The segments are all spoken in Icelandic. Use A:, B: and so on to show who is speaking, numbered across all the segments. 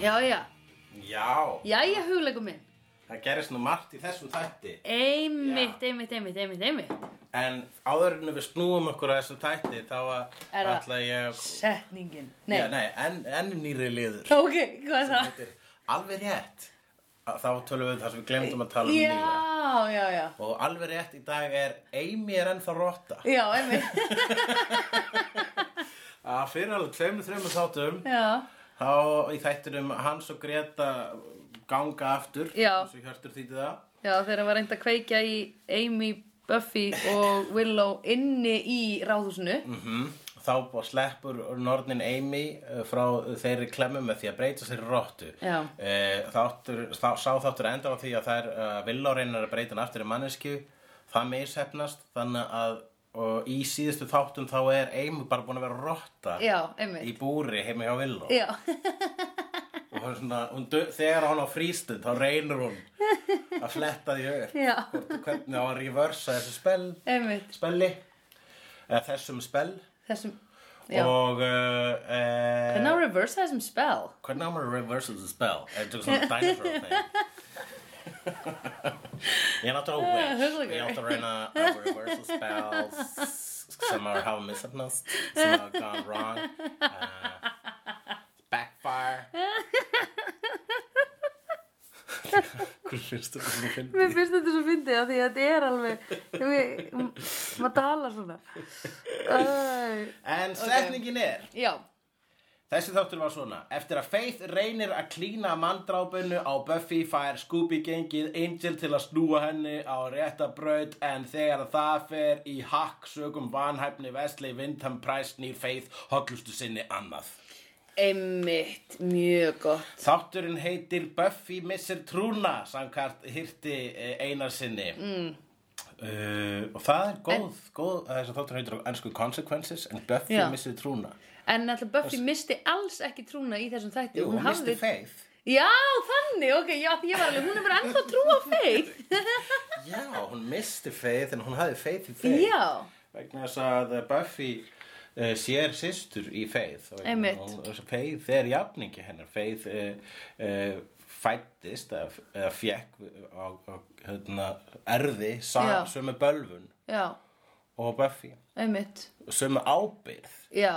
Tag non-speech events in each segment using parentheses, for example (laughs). A: Já, já,
B: Já,
A: jæja hugleikum minn
B: það gerist nú margt í þessum þætti
A: Einmitt, einmitt, einmitt, einmitt, einmitt
B: En áður en við snúum okkur að þessum þætti þá að-
A: Er það-
B: ætla ég að-
A: Setningin Nei,
B: Já, nei en, en nýri liður
A: ok, hvað er það?
B: Þetta er alveg rétt Þá tölum við það sem við glemdum að tala um
A: Já,
B: nýlega
A: já, já
B: Og alveg rétt í dag er Amy er ennþá rotta.
A: Já, einmitt, (laughs)
B: Að fyrir alveg tveimur, þreimur þáttum,
A: já
B: þá í þættinum hans og Greta ganga aftur,
A: Já.
B: eins og Hjörtur þýtti það.
A: Já, þegar var reynd að kveikja í Amy, Buffy og Willow inni í ráðhúsinu
B: Mm. Þá bara sleppur nornin Amy eh, frá þeirri klemmu með því að breyta sér í rottu.
A: Já.
B: Eh, Þáttur, þá, sá þáttur endar á því að þær uh, villá reynar að breyta hann aftur í mannesku. Það meðsefnast, þannig að og í síðustu þáttum þá er Amy bara búin að vera rotta
A: Já, einmitt
B: í búri heima hjá villó.
A: Já, (laughs)
B: og hún svona, hún dö, þegar hún á frístund þá reynir hún að fletta
A: (laughs)
B: því auð
A: já,
B: hvernig á að reversa þessu spell
A: einmitt
B: spelli eða þessum spell
A: Þessum, já
B: og uh, uh,
A: Hvernig á að reversa þessum spell?
B: hvernig á maður að reversa þessu spell Eh, eða tók svona dinosaur thing ég náttúrulega
A: Ah,
B: wish
A: huglegur.
B: ég náttúrulega reyna að reversa spells sem að hafa misafnast sem hafa gone wrong uh, backfire hvað finnst þetta svona fyndið?
A: Mér finnst þetta svo fyndið af því að þetta er alveg ég- m- maður talar svona Æ.
B: En setningin er,
A: Já,
B: þessi þáttur var svona Eftir að Faith reynir að klína manndrápinu á Buffy fær Scooby gengið Angel til að snúa henni á rétta braut en þegar það fer í hakk sögum vanhæfni Wesley Windham Price nýr Faith hotlustu sinni annað
A: einmitt, mjög gott
B: Þátturinn heitir Buffy missir trúna samkvæmt hirti eh, einar sinni mm. Uh, og það er góð, góð þess að þáttur heitir á ennsku Consequences en Buffy
A: Já.
B: missir trúna
A: En alltaf Buffy misti alls ekki trúna í þessum þætti
B: Jú, hún
A: hafði-
B: misti Faith
A: Já, þannig, ok, já, því ég var alveg, hún er bara ennþá trú á
B: (laughs)
A: feið
B: Já, hún misti feið en hún hafði feið í feið
A: Já,
B: vegna þess að Buffy uh, sér systur í feið
A: Einmitt.
B: feið er jafningi hennar feið uh, uh, fættist eða eða fékk á, á hérna, erði
A: Já.
B: sömu bölvun
A: já,
B: og Buffy
A: einmitt
B: sömu ábyrð
A: Já,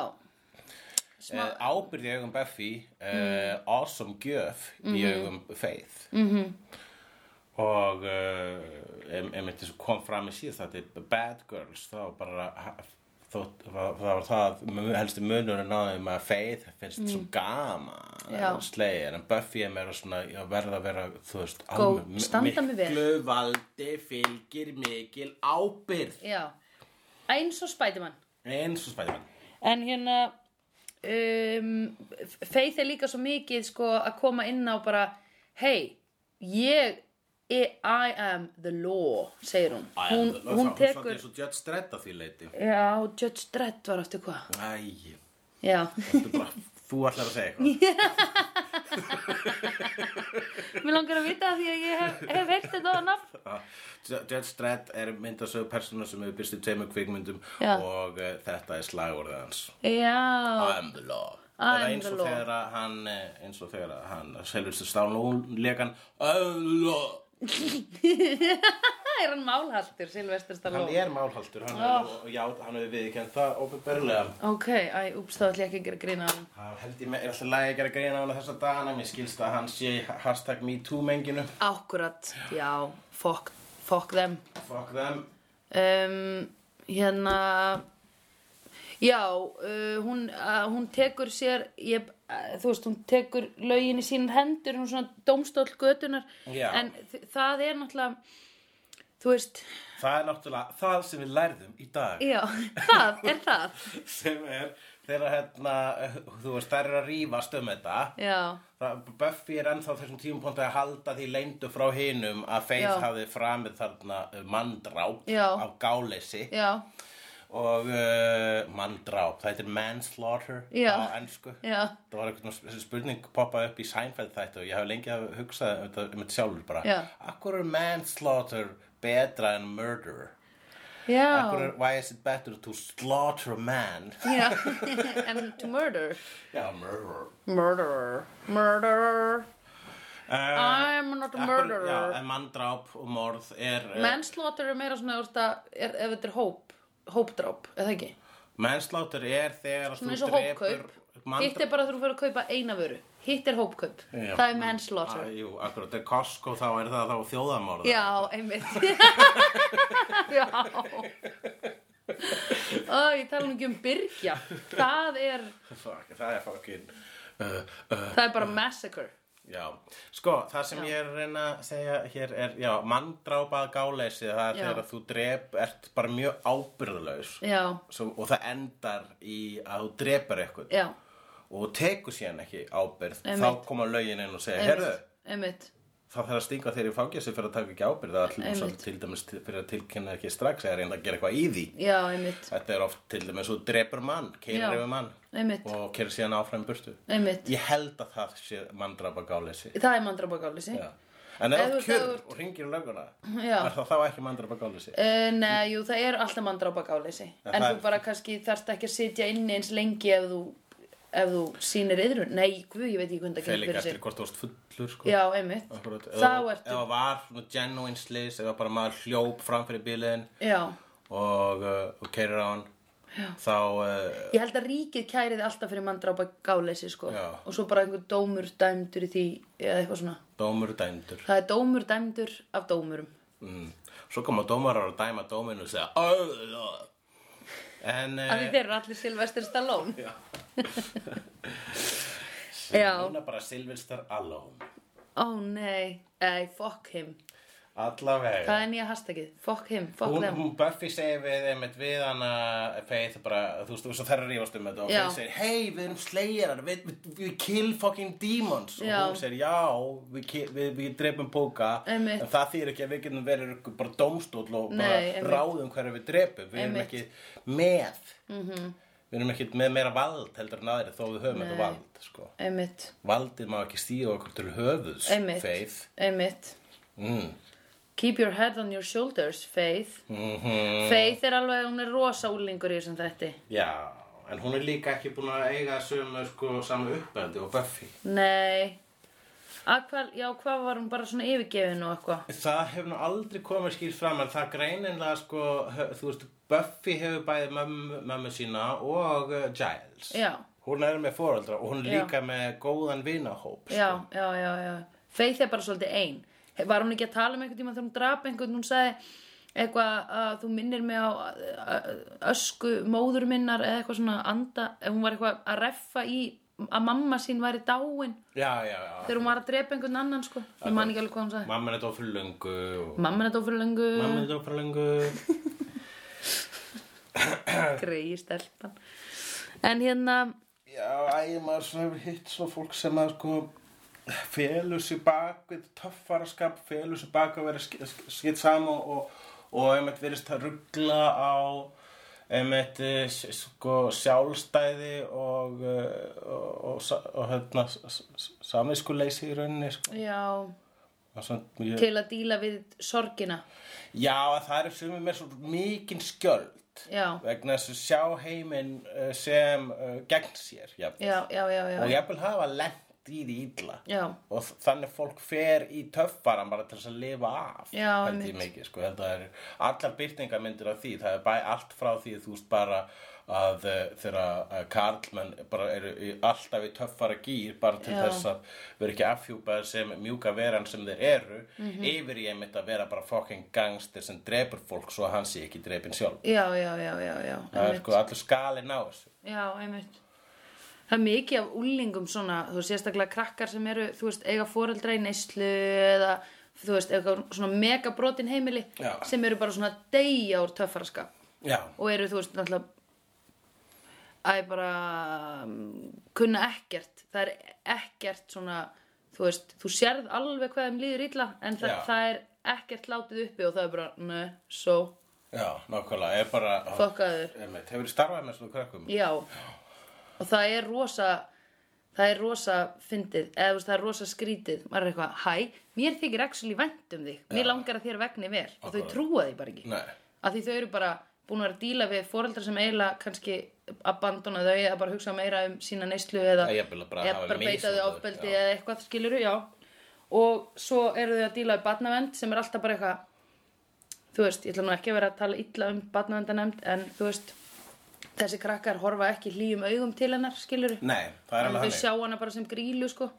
B: Smá... ábyrð Eh, í augum Buffy uh,
A: Mm.
B: awesome gjöf í
A: Mhm.
B: augum Faith mm -hmm. og uh, em- einmitt eins og kom fram í síðast þetta Bad Girls þá bara ha- þótt, það, það var það mu- helsti munurinn á þeim að Faith finnst svo
A: Mm. Já.
B: gama slegir en Buffy er meira svona að verða að vera þú veist
A: Góð,
B: alveg mi-
A: standa mig vel.
B: miklu valdi fylgir mikil ábyrð
A: já Eins og Spiderman
B: eins og spæðum
A: En hérna um, Faith er líka svo mikið sko að koma inn á bara Hey, ég I am the law segir hún Hún, hún
B: Hún
A: tekur
B: svo Judge Dredd að því leiti
A: Já, Judge Dredd var aftur hvað
B: Æ,
A: Já,
B: Þú bara, þú ætlar að segja
A: (laughs)
B: eitthvað
A: mér langar að vita það því að ég hef, hef heilt þetta á nafn
B: J- Judge Dredd er myndasögu persóna sem hefur byrst í tveimur kvikmyndum
A: Já.
B: og uh, þetta er slagorðið hans
A: Já,
B: I'm the law
A: I'm
B: Eða eins
A: the
B: og
A: law.
B: þegar að hann eh, eins og þegar að hann selvist stánlón lekan I'm the law
A: það er hann málhaltur Silvestur
B: Hann
A: Stallone
B: er málhaldur, hann hefur oh. já, hann hefur viðkjönd það ofinberlega
A: Ok, æ, úps, þá ætla ég ekki að gera grína á hann
B: Það held ég með, er alltaf lægi að gera greina á hana þessa dagana, mér skilst að hann sé í hashtag MeToo menginu
A: Akkurat, já, fuck, fuck them
B: Fuck them
A: um, Hérna Já, uh, hún, uh, hún tekur sér ég, uh, Þú veist, hún tekur lögin í sínar hendur Hún er svona dómstóll götunar
B: Já.
A: En þ- það er náttúrulega Þú veist,
B: Það er náttúrulega það sem við lærðum í dag
A: já, (laughs) það er það
B: sem er þegar hérna, þú veist, þær eru að rífast um þetta
A: Já,
B: það, Buffy er ennþá á þessum tímupunkti að halda því leyndu frá hinum að
A: Já.
B: Faith hafði framið þarna uh, manndráp
A: Já.
B: á gáleysi
A: já,
B: og uh, manndráp, það heitir manslaughter
A: Já.
B: á ennsku
A: já
B: Það var einhvern spurning poppaði upp í Seinfeld þættu og ég hef lengi að hugsa um þetta um þetta sjálfur bara.
A: Já.
B: Akkur er manslaughter betra en murder?
A: Já.
B: Akkur er, why is it better to slaughter a man
A: Já, (laughs) and to murder
B: já, murder
A: Murderer Murderer
B: uh,
A: I'm not a murderer
B: já, en manndráp og morð er uh,
A: Manslaughter er meira svona ef þú ert að- er, ef þetta er hóp, hópdráp, eða ekki?
B: mennsláttur er þegar að
A: Svona
B: þú
A: eins og
B: drepur
A: hópkaup. Hitt er bara að þú fyrir að kaupa eina vöru. Hitt er hópkaup.
B: Já.
A: Það er manslaughter.
B: Ah, Jú, akkurat, er Costco þá er það þá þjóðamorð
A: Já, einmitt.
B: (laughs)
A: Já. Ó, ég tala nú ekki um byrgja. Það er,
B: Fuck, það er fucking uh, uh,
A: það er bara massacre.
B: Já, sko, það sem ég er að reyna að segja hér er, já, manndrápað gáleysi, það er
A: Já.
B: þegar að þú drep, ert bara mjög ábyrðlaus
A: Já,
B: Svo, og það endar í að þú drepar eitthvað
A: já,
B: og þú tekur síðan ekki ábyrð,
A: Einmitt.
B: þá koma lögin inn og segja,
A: einmitt.
B: herðu,
A: Einmitt,
B: það þarf að stinga þeir í fangjasi fyrir að taka ekki ábyrð, það er til,
A: Einmitt.
B: svo til dæmis til- fyrir að tilkynna ekki strax eða reynda að gera eitthvað í því.
A: já, einmitt,
B: Þetta er oft til dæmis, þú drepur mann,
A: Já.
B: keirir yfir mann
A: einmitt,
B: og keirir síðan áfram í burtu.
A: einmitt.
B: Ég held að það sé manndrapa gáleysi.
A: Það er mandrabakálisi.
B: Já. En ef
A: Ef
B: þú
A: þú-
B: kjör
A: ef þú-
B: og ringir í löguna,
A: Já.
B: er það þá ekki mandrapa gáleysi?
A: Uh, nei, jú, það er alltaf mandrabakálisi.
B: Ja,
A: En
B: það
A: þú
B: er-
A: bara kannski þarft ekki að sitja inni eins lengi ef þú, ef þú sýnir yðrun. Nei, guð, ég veit ekki hvernig það
B: Fer
A: gengur
B: líka
A: fyrir
B: eftir
A: sig.
B: hvort þú varst fullur, sko.
A: Já, einmitt.
B: Akkurat,
A: Þá
B: ef-
A: ertu-
B: Ef það var svona genuine slis, ef það bara maður hljóp fram fyrir bílinn
A: Já.
B: og, uh, og keirir á hann, já. þá, uh,
A: Ég held að ríkið kæriði alltaf fyrir manndrápa gáleysi sko
B: Já.
A: og svo bara einhver dómur dæmdur í því eða eitthvað svona.
B: dómur er dæmdur.
A: Það er dómur dæmdur af dómurum.
B: Mm. Svo koma dómarar að dæma dóminu og segja, "Ö, ö." En,
A: Af því
B: uh,
A: þeir eru allir Sylvester Stallone.
B: sem
A: Já.
B: núna bara Silvestar Alone.
A: Ó nei, ei, fuck him.
B: Allavega.
A: Það er nýja hashtagið. Fuck him, fuck
B: hún,
A: them.
B: hún Buffy segir við einmitt við hana Faith bara, þú veist, þú veist, það er að rífast um þetta og
A: Já.
B: Faith segir, hei, við erum slayerar við, við, við kill fucking demons
A: Já.
B: og hún segir, já, við, ki- við, við drepum póka,
A: Einmitt.
B: en það þýr ekki að við getum verið ykkur bara dómstóll og bara
A: Nei, einmitt.
B: ráðum hverju við drepum við
A: Einmitt.
B: erum
A: Mhm.
B: ekki með -hmm. við erum ekki með meira vald heldur en aðri þó við höfum
A: Nei.
B: þetta vald sko.
A: Einmitt,
B: valdið má ekki stíða okkur til höfuðs
A: Einmitt.
B: Faith
A: einmitt.
B: mm.
A: Keep your head on your shoulders, Faith.
B: Mm
A: Faith er alveg, hún er rosa úlingur í þessum þætti.
B: Já, en hún er líka ekki búin að eiga sömu sko saman uppeldi og Buffy.
A: Nei. Að hvað, já, hvað var hún bara svona yfirgefin og eitthvað?
B: Það hefur nú aldrei komið skýrt fram en það greinilega sko, hö- þú veist, Buffy hefur bæði mömmu, mömmu sína og uh, Giles.
A: Já.
B: Hún er með foreldra og hún er
A: Já.
B: líka með góðan vinahóp.
A: já, já, já, já. Faith er bara svolítið ein He- var hún ekki að tala um einhvern tíma þegar hún drap einhvern hún sagði eitthvað að þú minnir mig á uh, ösku móður minnar eða eitthvað svona anda eh, hún var eitthvað að reffa í að mamma sín væri dáin
B: Já, já, já.
A: þegar hún var að drepa einhvern annan sko ég man ekki alveg hvað hún sagði
B: Mamma er þetta fyrir löngu og...
A: mamma er þetta fyrir
B: Mamma
A: lengu
B: er þetta fyrir löngu.
A: greiði stelpan en hérna
B: já, æ, maður svona hefur hitt svo fólk sem að sko felur sér bak við töffaraskap, felur sér bak að vera skitt saman og, og, og einmitt verist að ruggla á einmitt eh, s- sko, sjálfstæði og, eh, og, og, sa- og hérna, samiskuleysi í rauninni sko.
A: já,
B: Það er svona mjög-
A: til að díla við sorgina
B: Já, að það er sumið með svo mikinn skjöld
A: já,
B: vegna þess að sjá heiminn eh, sem uh, gegn sér jafnvel.
A: já, já, já, já,
B: og
A: já.
B: jafnvel hafa lent í því illa
A: já.
B: og þ- þannig fólk fer í töffaran bara til þess að lifa af
A: Já,
B: held ég
A: einmitt.
B: mikið, sko, held að það er allar byrtingamyndir af því, það er bæ allt frá því þú veist bara að eh, þegar að karlmenn bara eru í- alltaf í töffara gýr bara til
A: Já.
B: þess að vera ekki afhjúpað sem mjúka veran sem þeir eru
A: Mhm.
B: yfir í einmitt að vera bara fucking gangstir sem drepur fólk svo að hann sé ekki drepin sjálf
A: Já, já, já, já, já.
B: það
A: einmitt.
B: er sko allur skalinn á þessu
A: Já, einmitt. Það er mikið af úlingum svona, þú veist, sérstaklega krakkar sem eru, þú veist, eiga foreldra í neyslu eða, þú veist, eitthvað svona megabrotin heimili
B: Já.
A: sem eru bara svona deyja úr töffaraskap
B: Já,
A: og eru, þú veist, náttúrulega að bara mm, kunna ekkert. Það er ekkert svona, þú veist, þú sérð alveg hvað þeim líður illa en það,
B: Já.
A: það er ekkert látið uppi og það er bara, ne, so,
B: já, nákvæmlega er bara,
A: fokkaður.
B: einmitt, hefur starfað með svona krakkum
A: Já, og það er rosa, það er rosa fyndið, eða þú veist, það er rosa skrítið, maður er eitthvað, hæ, mér þykir actually vænt um þig, mér langar að þér vegni vel og þau
B: Akkurat.
A: trúa því bara ekki.
B: Nei
A: að því þau eru bara búin að vera að díla við foreldrar sem eiginlega kannski abandona þau eða bara hugsa meira um sína neyslu eða
B: Já, jafnvel að bara hafa
A: bara beita þau
B: misnotað,
A: ofbeldi
B: já.
A: eða eitthvað skilur já og svo eru þau að díla við barnavend sem er alltaf bara eitthvað þú veist, ég ætla nú ekki að vera að tala illa um barnavendanemnd en þú veist þessi krakkar horfa ekki hlýjum augum til hennar skilur
B: Nei, það er alveg
A: þau
B: þannig.
A: sjá hana bara sem grílu sko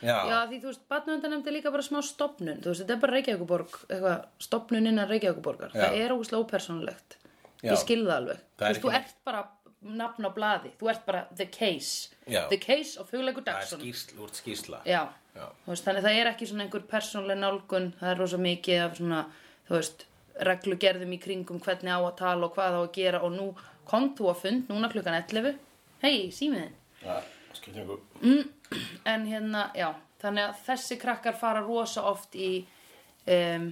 B: Já.
A: já því þú veist, barnavendanemnd er líka bara smá stopnun þú veist, þetta er bara Reykjavíkuborg eitthvað, stopnun innan Reykjavíkuborgar
B: Já.
A: það er ógustlega ópersónulegt
B: Já.
A: ég skil það alveg þú
B: Það er
A: veist, þú
B: ekki-
A: ert bara nafn á blaði þú ert bara the case
B: Já.
A: the case of hugleikur
B: Það er
A: Dagsson
B: skýrsla, úr skýrsla.
A: já,
B: Já.
A: þú veist, þannig það er ekki svona einhver persónleg nálgun það er rosa mikið af svona þú veist, reglugerðum í kringum hvernig á að tala og hvað á að gera og nú kom þú að fund núna klukkan 11 hei, símiðin
B: Já, skiptir ykkur.
A: en hérna, já, þannig að þessi krakkar fara rosa oft í um,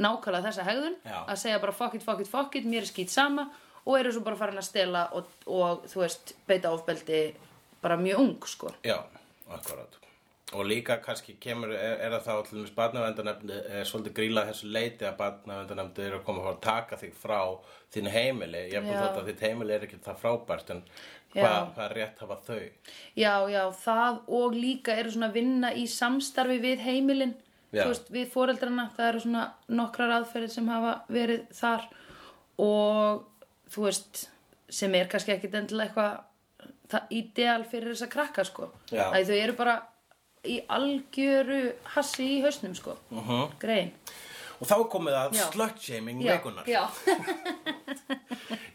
A: nákvæmlega þessa hegðun
B: Já.
A: að segja bara fuck it, fuck it, fuck it, mér er skýt sama og eru svo bara farin að stela og, og þú veist, beita ofbeldi bara mjög ung, sko
B: Já, akkurat. Og líka kannski kemur, er, er það þá allir með barnavendanefndi, er eh, svolítið grílað þessu leiti að barnavendanefndi eru að koma að fara að taka þig frá þín heimili. Ég er búin
A: Já.
B: þótt að þitt heimili er ekki það frábært, en
A: Já.
B: hvað hva rétt hafa þau?
A: Já, já, það og líka eru svona að vinna í samstarfi við heimilin,
B: Já.
A: þú veist, við foreldrana, það eru svona nokkrar aðferðir sem hafa verið þar og þú veist, sem er kannski ekkit endilega eitthvað það ideal fyrir þess að krakka, sko.
B: Já.
A: Æ, þau eru bara í algjöru hassi í hausnum, sko. Uh
B: Mhm.
A: -huh. Grein.
B: Og þá er komið að
A: Já.
B: slutshaming
A: Já,
B: veikunar.
A: Já,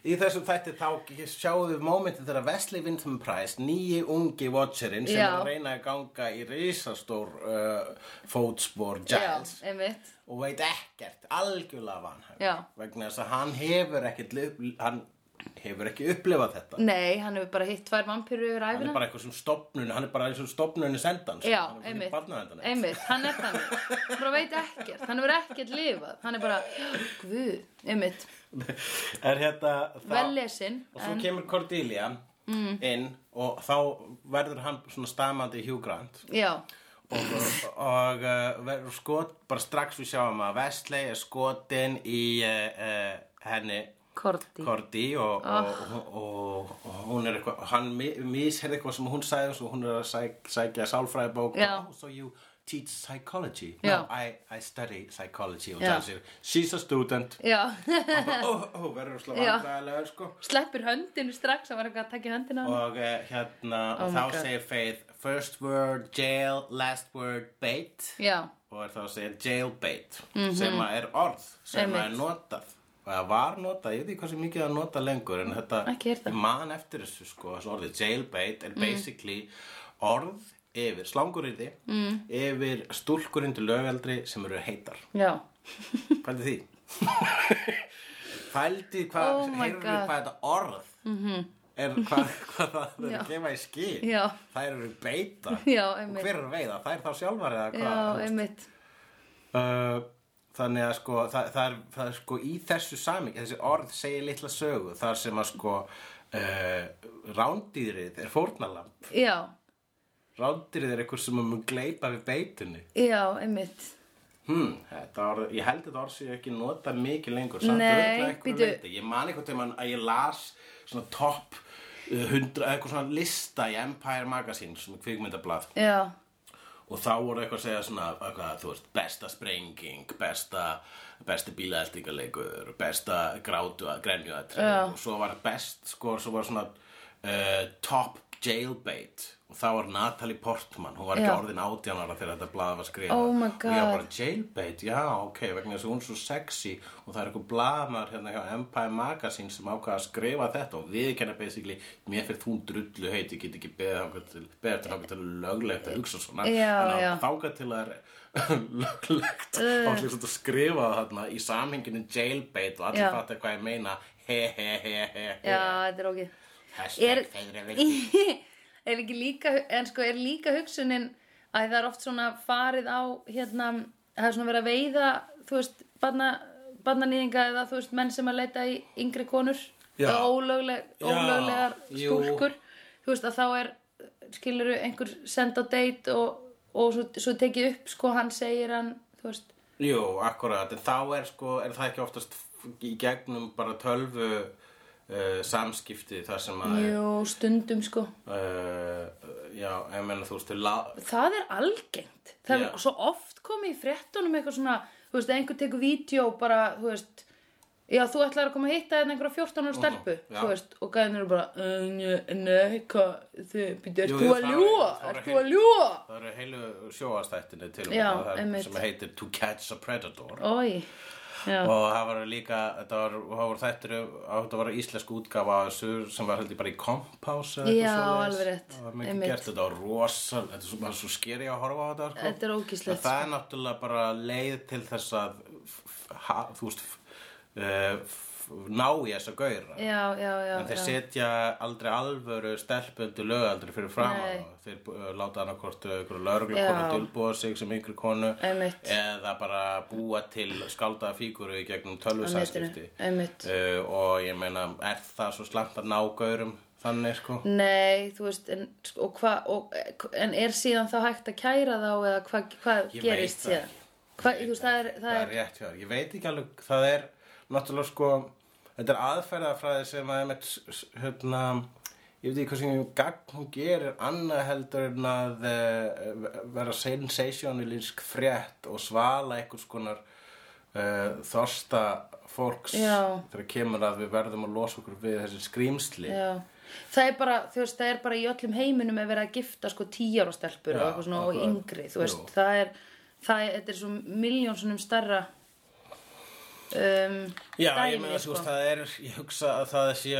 B: Í þessum þætti þá sjáum við mómentið þegar Wesley Windham Price, nýji ungi watcherinn sem
A: Já.
B: er að reyna að ganga í risastór uh, fótspor
A: já,
B: Giles.
A: einmitt.
B: og veit ekkert, algjörlega vanhæf
A: Já.
B: vegna þess að hann hefur ekkert lif- hann hefur ekki upplifað þetta
A: Nei, hann hefur bara hitt tvær vampíru yfir æfina.
B: hann er bara eitthvað sem stopnun hann er bara eins og stopnunni sendans
A: Já,
B: sko. hann er
A: einmitt,
B: bara í barnavendan
A: einmitt, hann er þannig hann bara veit ekkert, hann hefur ekkert lifað hann er bara, guð, einmitt
B: (laughs) er hérna
A: vel
B: það,
A: lesinn
B: og svo
A: en,
B: kemur Cordelia
A: Mm.
B: inn og þá verður hann svona stamandi Hugh Grant
A: já,
B: og, og uh, verður skot bara strax við sjáum að Wesley er skotin í uh, uh, henni
A: Korti
B: Korti og,
A: Ah.
B: og, og, og hún er eitthvað, hann mi- misheyrði eitthvað sem hún sagði og svo hún er að sæk, sækja sálfræðibók
A: Já.
B: oh, so you teach psychology
A: Já.
B: no, I, I study psychology og
A: Já.
B: það sér, she's
A: (laughs)
B: a student
A: já,
B: og bara, oh, oh, verður slá
A: Já.
B: vandræðilega sko.
A: sleppir höndinu strax hann var eitthvað að taka í höndina hann
B: og eh, hérna
A: Oh
B: og
A: my
B: þá
A: God.
B: segir Faith first word jail, last word bait
A: já,
B: og er þá að segja jailbait sem að er orð sem að er
A: Mhm. Einmitt.
B: notað og það var notað, ég veit ekki hversu mikið að nota lengur en
A: Ekki
B: þetta,
A: heyrt það. Mhm.
B: ég man eftir þessu sko, þessu orðið jailbait er basically orð yfir slangurýði mm.
A: Mhm.
B: yfir stúlkurindi lögveldri sem eru
A: (laughs)
B: heitar
A: já,
B: fældi því (laughs) fældi hvað,
A: Oh my
B: heyrðu
A: God. Mhm.
B: hvað þetta orð -hmm. er
A: (laughs)
B: hvað, hvað það er
A: Já.
B: að gefa í skil
A: Já.
B: þær eru beita
A: Já,
B: og
A: einmitt.
B: hver er að veiða, þær þá sjálfar eða hvað
A: já,
B: þú veist?
A: einmitt
B: Uh, þannig að sko það, það, er, það er sko í þessu saming þessi orð segir litla sögu þar sem að sko uh, rándýrið er fórnalamb
A: já,
B: rándýrið er eitthvað sem að mun gleypa við beitunni
A: já, einmitt
B: hmm, þetta orð, ég held þetta orð sem ég ekki nota mikið lengur samt
A: Nei,
B: örugglega að einhverju
A: bíddu.
B: leyti. ég man eitthvað tímann að ég las svona topp uh, hundra, eitthvað svona lista í Empire Magazine svona kvikmyndablað
A: já,
B: og þá voru eitthvað að segja svona eitthvað, þú veist, besta sprenging besta, besti bílaeltingarleikur besta grátu að grenju og svo var best sko, svo var svona uh, top jailbait og þá var Natalie Portman hún var ekki
A: Já.
B: orðin átján ára þegar þetta blað var skrifað
A: Oh my
B: og ég var
A: God.
B: bara jailbait, já, ok vegna þess að hún er svo sexy og það er eitthvað blaðmar hérna hjá Empire Magazine sem ákvað að skrifa þetta og við kenna basically mér fyrir þú drullu heit, ég get ekki beðið þangað til, beðið þangað til löglegt að hugsa svona
A: Já,
B: þannig
A: já. Uh.
B: að þangað til að er (laughs) löglegt og allir svona skrifa það þarna í samhenginu jailbait
A: Já.
B: og allir fatta hvað ég meina he he he he
A: já,
B: he
A: þetta er ógið Er-
B: hashtag feðri vildi
A: (laughs) er ekki líka en sko er líka hugsunin að það er oft svona farið á hérna, það er svona verið að veiða þú veist, barna, barnanýðinga eða þú veist, menn sem að leita í yngri konur
B: Já.
A: eða ólögleg,
B: Já,
A: ólöglegar
B: jú.
A: stúlkur þú veist að þá er skilur einhver send á date og, og svo, svo tekið upp sko hann segir hann, þú veist
B: Jú, akkurat, en þá er sko, er það ekki oftast í gegnum bara tölvu uh, samskipti þar sem að
A: Jú, stundum sko
B: uh, já, ég meina þú veist þau la,
A: Það er algengt. Það
B: Já.
A: er svo oft komið í fréttunum eitthvað svona, þú veist, einhver tekur vídeo bara, þú veist, já, þú ætlar að koma að hitta þennan einhverja 14 ára stelpu,
B: já.
A: þú veist, og gæðin eru bara, "Eh, njö, nei, hvað, þau, býttu, ert
B: Jú,
A: þú
B: jú,
A: að
B: það er-
A: ljúa?
B: það er
A: Ert þú
B: heil-
A: að ljúa?
B: það eru heilu sjóastættinni til og með
A: Já,
B: það er-
A: einmitt.
B: sem heitir To Catch a Predator
A: Ói, já,
B: og það var líka, þetta var, það var þættir þetta var íslensk útgafa af þessu sem var heldur bara í kompás eða eitthvað
A: Já,
B: svoleiðis.
A: alveg rétt,
B: það var mikið
A: einmitt.
B: gert, þetta var rosal þetta er svo, maður er svo skeri að horfa á þetta sko.
A: þetta er
B: En
A: ógíslegt.
B: það er náttúrulega bara leið til þess að f- f- ha, þú veist f- eh, f- ná í þess að gauðra
A: Já, já, já,
B: en þeir
A: já.
B: setja aldrei alvöru stelpundu lögaldri fyrir fram
A: Nei.
B: þeir uh, láta hann hvort ykkur lögreglu konu
A: Já.
B: dulbúa sig sem yngri konu
A: Einmitt.
B: eða bara búa til skaldaða fíguru í gegnum tölvusanskipti
A: netinu, einmitt.
B: uh, og ég meina er það svo slant að ná gaurum þannig sko
A: Nei, þú veist, en, sko, og hva, og, en er síðan þá hægt að kæra þá eða hvað hva
B: Ég
A: gerist
B: veit það
A: síðan? Hva, þú veist, það er, það
B: það
A: er,
B: er rétt hjá, þér. ég veit ekki alveg það er náttúrulega sko þetta er aðferðafræði sem að einmitt, s- hérna, ég veit ekki hvað sem gagn hún gerir annað heldur en að uh, vera sensationalísk frétt og svala einhvers konar uh, þorsta fólks
A: Já.
B: þegar kemur að við verðum að losa okkur við þessi skrýmsli
A: Já, það er bara, þú veist, það er bara í öllum heiminum að vera að gifta sko tíjar og stelpur
B: Já,
A: og eitthvað svona og
B: akkurat.
A: yngri, þú veist,
B: Jú.
A: það er, það er, þetta er svo miljón svonum starra um,
B: Já,
A: dæmi,
B: ég meina, þú veist, það er, ég hugsa að það sé,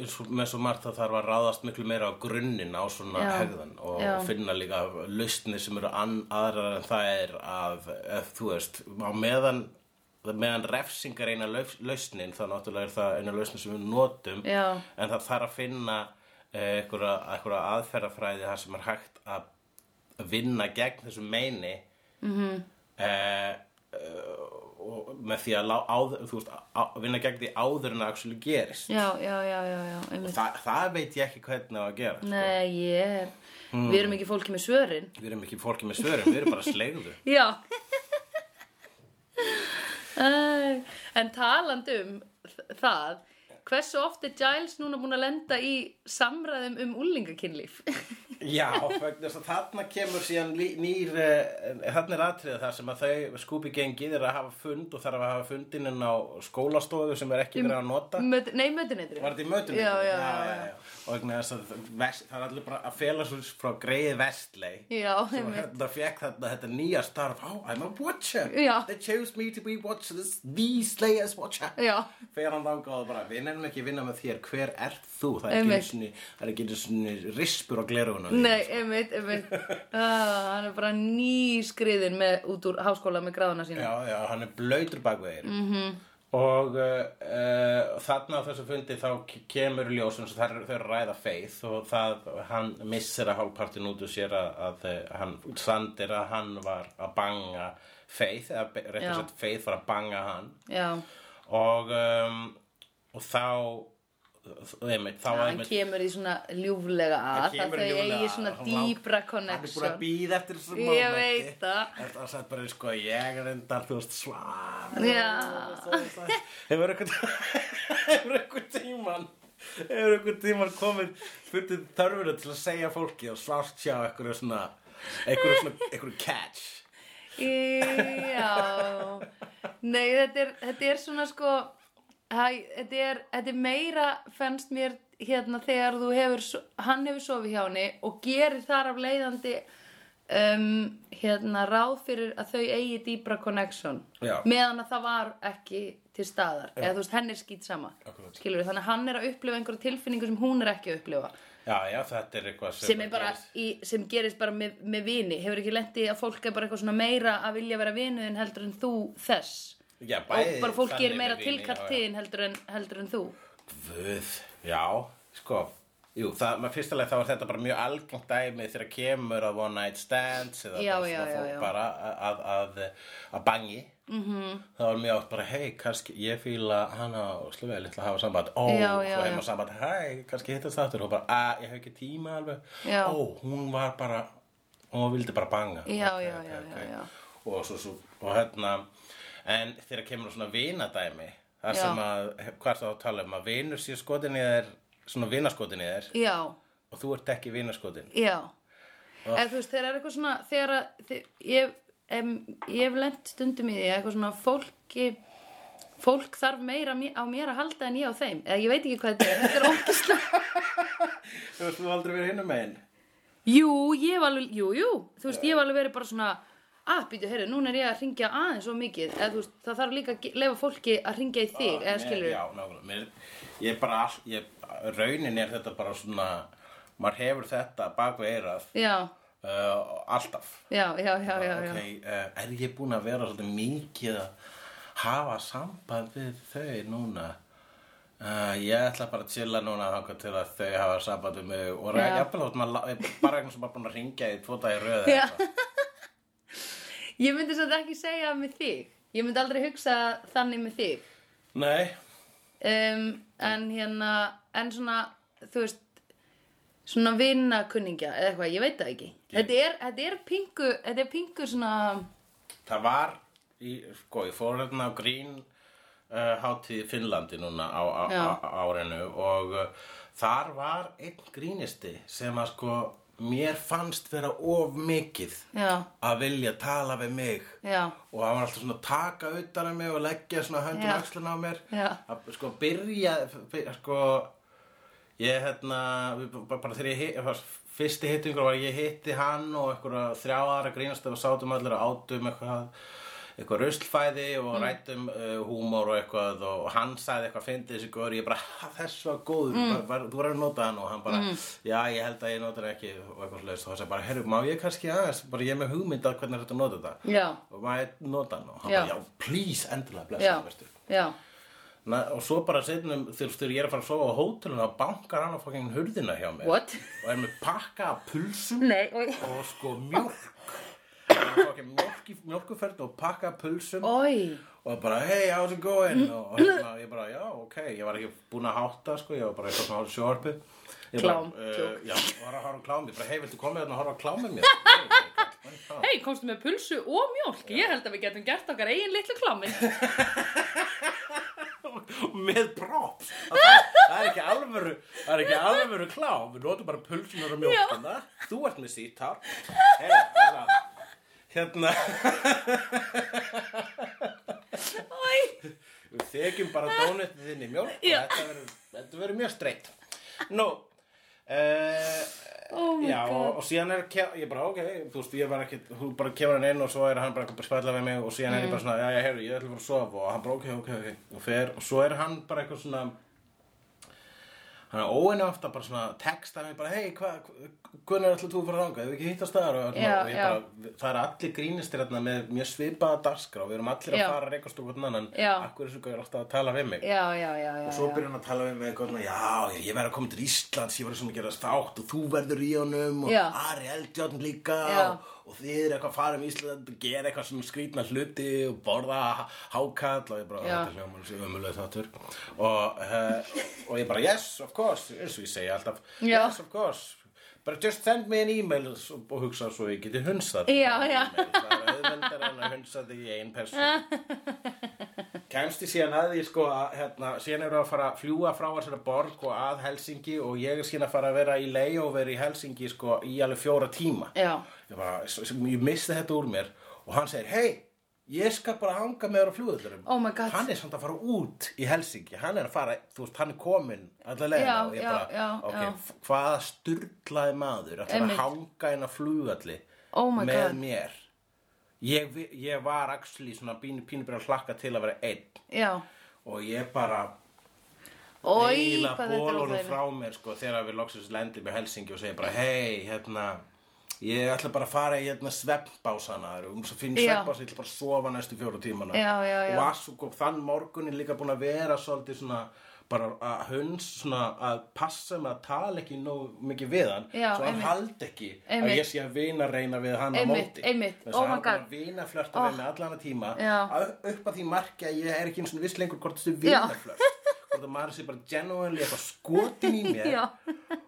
B: eins og með svo margt að þarf að ráðast miklu meira á grunnin á svona
A: Já,
B: hegðan og
A: já.
B: finna líka lausnir sem eru ann, aðrar en það er að, ef, þú veist, á meðan, meðan refsingar eina laus, lausnin, þá náttúrulega er það eina lausnin sem við notum,
A: Já.
B: en það þarf að finna eh, einhverja, einhverja aðferðafræði þar sem er hægt að vinna gegn þessu meini mm og með því að lá, áður, þú veist, á, vinna gegn því áður en að actually gerist
A: Já, já, já, já, já, einmitt.
B: Þa, það veit ég ekki hvernig á að gera sko.
A: Nei, ég er,
B: Mm.
A: við erum ekki fólki með svörin.
B: við erum ekki fólki með svörum, við erum bara slegðu
A: Já (laughs) Æ, En talandi um þ- það Hversu oft er Giles núna búin að lenda í samræðum um úlingakinnlíf?
B: (laughs) Já, vegna þess að þarna kemur síðan lí- nýr, eh, þarna er atriðið þar sem að þau skúpi gengið er að hafa fund og þarf að hafa fundinn inn á skólastofu sem er ekki verið að nota
A: Möt, nei, mötuneytri
B: Var þetta í
A: Um,
B: mötunum?
A: Já, já, já, já.
B: Og vegna þess að vest, það er allir bara að fela svo frá greið vestlei
A: Já,
B: sem
A: einmitt.
B: hérna fekk þetta, þetta nýja starf oh, I'm a watcher,
A: Já.
B: they chose me to be watcher this, the Slayers watcher
A: Já,
B: Þegar hann þangað og bara, við nefnum ekki að vinna með þér, hver ert þú? Það er
A: Einmitt.
B: ekki sinni, það er ekki sinni rispur á glerunum.
A: nei, einmitt,
B: (laughs)
A: einmitt ah, Hann er bara nýskriðin með, út úr háskóla með gráðuna sína
B: Já, já, hann er blöytur bak við þeir. Mm
A: Mhm.
B: -hmm. Og uh, uh, þarna á þessu fundi þá ke- kemur ljósum sem þær, þær ræða feið og það, hann missir að hálfpartin út úr sér að, að eh, hann, sandir að hann var að banga feið, eða be- rétt
A: Já.
B: að sett feið var að banga hann.
A: Já,
B: Og, um, og þá, einmitt, þá
A: hann kemur í svona ljúflega að Það þau eigi svona dýbra
B: Hann er búin að
A: connection
B: býða eftir þessu
A: Ég veit það.
B: Það er satt bara sko Ég reyndar þú veist svar
A: Já.
B: Hefur einhvern Hefur einhvern tíman Hefur einhvern tíman komið Fyrir þörfuna til að segja fólki Og slást sjá einhverju svona Einhverju svona Einhverju catch
A: Já Nei, þetta er, þetta er svona sko hæ, þetta, er, þetta er meira fennst mér hérna þegar þú hefur so- hann hefur sofið hjá henni og gerir þar af leiðandi um, hérna ráð fyrir að þau eigi dýbra connection
B: Já.
A: meðan að það var ekki til staðar eða þú veist henn er skýt sama
B: Akkurat.
A: skilur þannig að hann er að upplifa einhverja tilfinningu sem hún er ekki að upplifa
B: Já, já, þetta er eitthvað
A: sem, er bara í, sem gerist bara með, með vini hefur ekki lendi að fólk er bara eitthvað svona meira að vilja vera vinu en heldur en þú þess
B: Já,
A: og bara fólk
B: þannig
A: er meira
B: með vini,
A: tilkall
B: já, já.
A: til þín heldur en, heldur en þú
B: Guð, já, sko Jú, það, maður fyrstulega þá er þetta bara mjög algengt dæmi þegar kemur að one night stands eða
A: Já,
B: bara
A: já,
B: svona
A: já,
B: fólk
A: já.
B: bara að, að, að, að bangi mm
A: Mhm.
B: -hmm. þá er mjög átt bara, hei, kannski ég fíla hana og slúfið litla að hafa samband ó,
A: Já, já,
B: svo heima
A: já.
B: samband, hei, kannski hittast þáttur og bara, að, ég hef ekki tíma alveg
A: Já.
B: ó, hún var bara, hún vildi bara banga
A: Já,
B: Ok,
A: já,
B: ok,
A: já,
B: ok.
A: já, já.
B: og svo, svo, og hérna en þegar kemur svona vinadæmi þar
A: Já.
B: sem að, hvað er það að tala um að vinur sér skotin í þér, svona vinaskotin í þér
A: já,
B: og þú ert ekki vinaskotin
A: já eða þú veist, þegar er eitthvað svona þegar að, þið, ég, em, ég hef lent stundum í því að eitthvað svona fólki fólk þarf meira mé- á mér að halda en ég á þeim eða ég veit ekki hvað þetta er, þetta er ógislega
B: Þú veist, þú aldrei verið hinum megin
A: Jú, ég hef alveg, jú, jú, þú veist, ég hef alveg verið bara svona, að, býtu, heyrðu, núna er ég að ringja aðeins svo mikið, eða þú veist, það þarf líka að ge- leyfa fólki að ringja í þig, eða skilur,
B: Já, nákvæmlega mér, Ég er bara, all- ég, raunin er þetta bara svona maður hefur þetta bak við eirað
A: já, Ah,
B: uh, alltaf
A: já, já, já, já, já,
B: ok, uh, er ég búin að vera svolítið mikið að hafa samband við þau núna uh, ég ætla bara að chilla núna þangað til að þau hafa samband við mig og
A: Já.
B: ræði jafnvel þótt maður la- bara einhvern sem maður búin að ringja í tvo
A: (laughs)
B: dagi röð
A: Já. Ég myndi svolítið ekki segja það með þig, ég myndi aldrei hugsa þannig með þig,
B: nei,
A: um, en hérna, en svona, þú veist, svona vinnakunningja eða eitthvað, ég veit það ekki. Þetta er, þetta er pingu, þetta er pingu svona,
B: það var í, sko, ég fór hérna á grín uh, hátíð í Finnlandi núna á, á,
A: Já.
B: á, á árinu og uh, þar var einn grínisti sem að sko mér fannst vera of mikið
A: já,
B: að vilja tala við mig
A: já,
B: og hann var alltaf svona að taka utan af mig og leggja svona höndum
A: Já.
B: axlun á mér
A: Já.
B: að sko byrja byrja, sko ég hérna við- bara bara þegar ég hitt- var- fyrsti hittingur var ég hitti hann og einhverja þrjá aðra grínast og sátum allir og átum eitthvað eitthvað ruslfæði
A: Mm.
B: og rættum uh, húmór og eitthvað og hann sagði eitthvað fyndi þessi góður ég bara "Ha, þess var góður mm. bara, þú verður að nota hann og hann
A: Mm.
B: bara já ég held að ég nota hann ekki og eitthvað slags og það sagði bara herru má ég kannski aðeins bara ég er með hugmynd að hvernig er þetta að nota þetta
A: já,
B: og maður nota hann og hann
A: Já.
B: bara, já, please, endilega blessa
A: já,
B: það, veistu
A: já,
B: Na, og svo bara setnum, þegar þegar ég er að fara að sofa á hótelun þá bankar hann á fucking hurðina hjá mér
A: what?
B: og er með pakka af pulsum
A: Nei, og...
B: og sko mjólk Hann er með fucking mjólk í mjólkuferð og pakka af pulsum
A: Oi,
B: og bara, hey, how's it going og og hérna, ég bara, já, ok, ég var ekki búin að hátta sko, ég var bara eitthvað svona sjórpi
A: Klám,
B: uh,
A: tjók.
B: já, var að horfa á klám, ég bara, hey, viltu koma hérna að horfa á klám
A: (laughs)
B: með mér Hey, klám.
A: hei, komstu með pulsu og mjólk? Ég held að við getum gert okkar eigin litlu klámið. (laughs)
B: (laughs) með props það, það, það er ekki alvöru það er ekki alvöru klá við notum bara pulsunar og mjólkuna þú ert með sítár hey, hérna, hérna
A: Oi,
B: við þekjum bara dónutið þinn í mjólk og
A: Já.
B: þetta verður- þetta verður mjög streitt nú uh,
A: oh my
B: Já, og,
A: god.
B: og síðan er ke- ég bara, ok, þú veist, ég var ekki þú bara kemur hann inn og svo er hann bara að spæla við mig og síðan er ég bara
A: Mm.
B: svona, já, já, heyrðu, ég ætla að fara að sofa og hann bara, ok, ok, ok, og fer og svo er hann bara eitthvað svona hann er óinni ofta bara svona texta mig bara, hei, hvað, hvernig ætla þú að fara þangað, hefur ekki hittast þar og,
A: Já,
B: og ég
A: já.
B: bara, það er allir grínistir þarna með mjög svipaða dagskrá, við erum allir að
A: Já.
B: fara að reykast úr hvernig annan,
A: Já.
B: akkur er svo gauður alltaf að tala við mig
A: Já, já, já, já.
B: Og svo
A: já.
B: byrjar hann að tala við mig eitthvað svona, já, ég verð að koma til Íslands, ég verð svona að gera þátt og þú verður í honum og
A: Já.
B: Ari Eldjörn líka
A: Já.
B: og, og þið eru eitthvað að fara um Ísland og gera eitthvað svona skrýtna hluti og borða há- hákarl og ég bara,
A: Já.
B: þetta hljóma þessi ömulega þáttur og, uh, og ég bara, yes, of course, eins og ég segja alltaf,
A: Já.
B: yes, of course. Bara just send me an email og, og hugsa svo ég geti hunsað
A: Já, já.
B: Það er auðvendar en að hunsa þig í ein person Kæmst ég síðan að því sko að hérna, síðan eru að fara að fljúa frá þessari borg og að Helsingi og ég er síðan að fara að vera í layover í Helsingi sko í alveg fjóra tíma.
A: Já,
B: Ég bara, s- s- ég misti þetta úr mér og hann segir, hei, ég skal bara hanga með þér á flugullurum.
A: Oh my God.
B: Hann er samt að fara út í Helsingi, hann er að fara, þú veist, hann er kominn alla leiðina
A: Já,
B: og ég
A: já,
B: bara,
A: já,
B: ok,
A: já.
B: f- hvaða styrlaði maður ætlar
A: Einmitt.
B: að hanga inn á flugulli
A: Oh my
B: með
A: God.
B: mér. Ég, vi- ég var axli svona pínu, pínu byrja að hlakka til að vera einn
A: já.
B: og ég bara
A: Oi,
B: eila
A: hvað þetta er
B: bólunum
A: óþægilegt.
B: frá mér sko, þegar við loksins lendum í Helsingi og segja bara hei, hérna ég ætla bara að fara í hérna sveppbásana um svo finn
A: Já.
B: sveppbása, ég ætla bara að sofa næstu fjóru tímana
A: Já, já, já.
B: og að svo kom þann morgunin líka búin að vera svolítið svona bara að hunds svona að passa með að tala ekki nóg mikið við hann
A: Já,
B: svo hann
A: einmitt.
B: haldi ekki að
A: Einmitt.
B: ég sé að vina reyna við hann á
A: Einmitt,
B: móti
A: einmitt.
B: Þess að
A: Oh my
B: hann var
A: God. Oh.
B: að vina flörta við mig allan að tíma
A: Já.
B: að upp að því marki að ég er ekki eins og viss lengur hvort þessu
A: Já.
B: vina flört hvort að maður sé bara genuinely eitthvað skotin í mér
A: Já.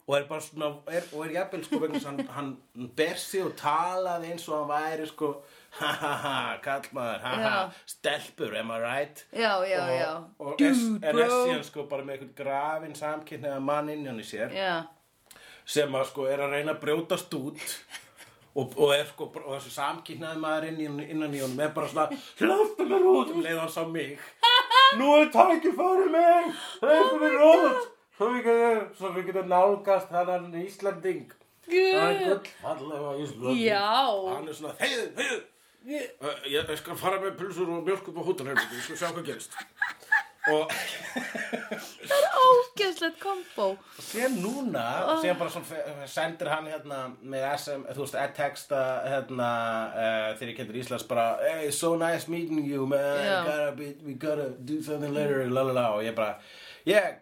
B: og er bara svona er, og er jafnvel sko vegna þess að hann, hann ber sig og talaði eins og hann væri sko ha ha ha, kallmaður, ha ha
A: Já.
B: stelpur, am I right?
A: já, já,
B: og,
A: já
B: og er,
A: Dude,
B: er, er
A: bro
B: síðan sko bara með einhvern grafin samkynnaða mann innan í sér
A: Já,
B: sem að sko er að reyna að brjótast út og, og er sko og þessi samkynnaði maður inn, í- innan í honum er bara svona hlöftu mér út um leið hans á mig nú er tækifæri mig hlöftu mér út svo við getum, svo við getum nálgast þannan Íslanding það er gull fallega Íslanding
A: já
B: hann er svona heiðu, heiðu uh, ég, ég skal fara með pulsur og mjölk upp á hútan ég skal sjá hvað gerist og
A: Ógeðslegt kombo
B: Sér núna, oh. sér bara svona fe- sendir hann hérna með SM, þú veist, texta hérna uh, þegar ég kendur Íslands bara Hey, so nice meeting you man,
A: Já.
B: gotta be, we gotta do something later, la la la og ég bara, yeah,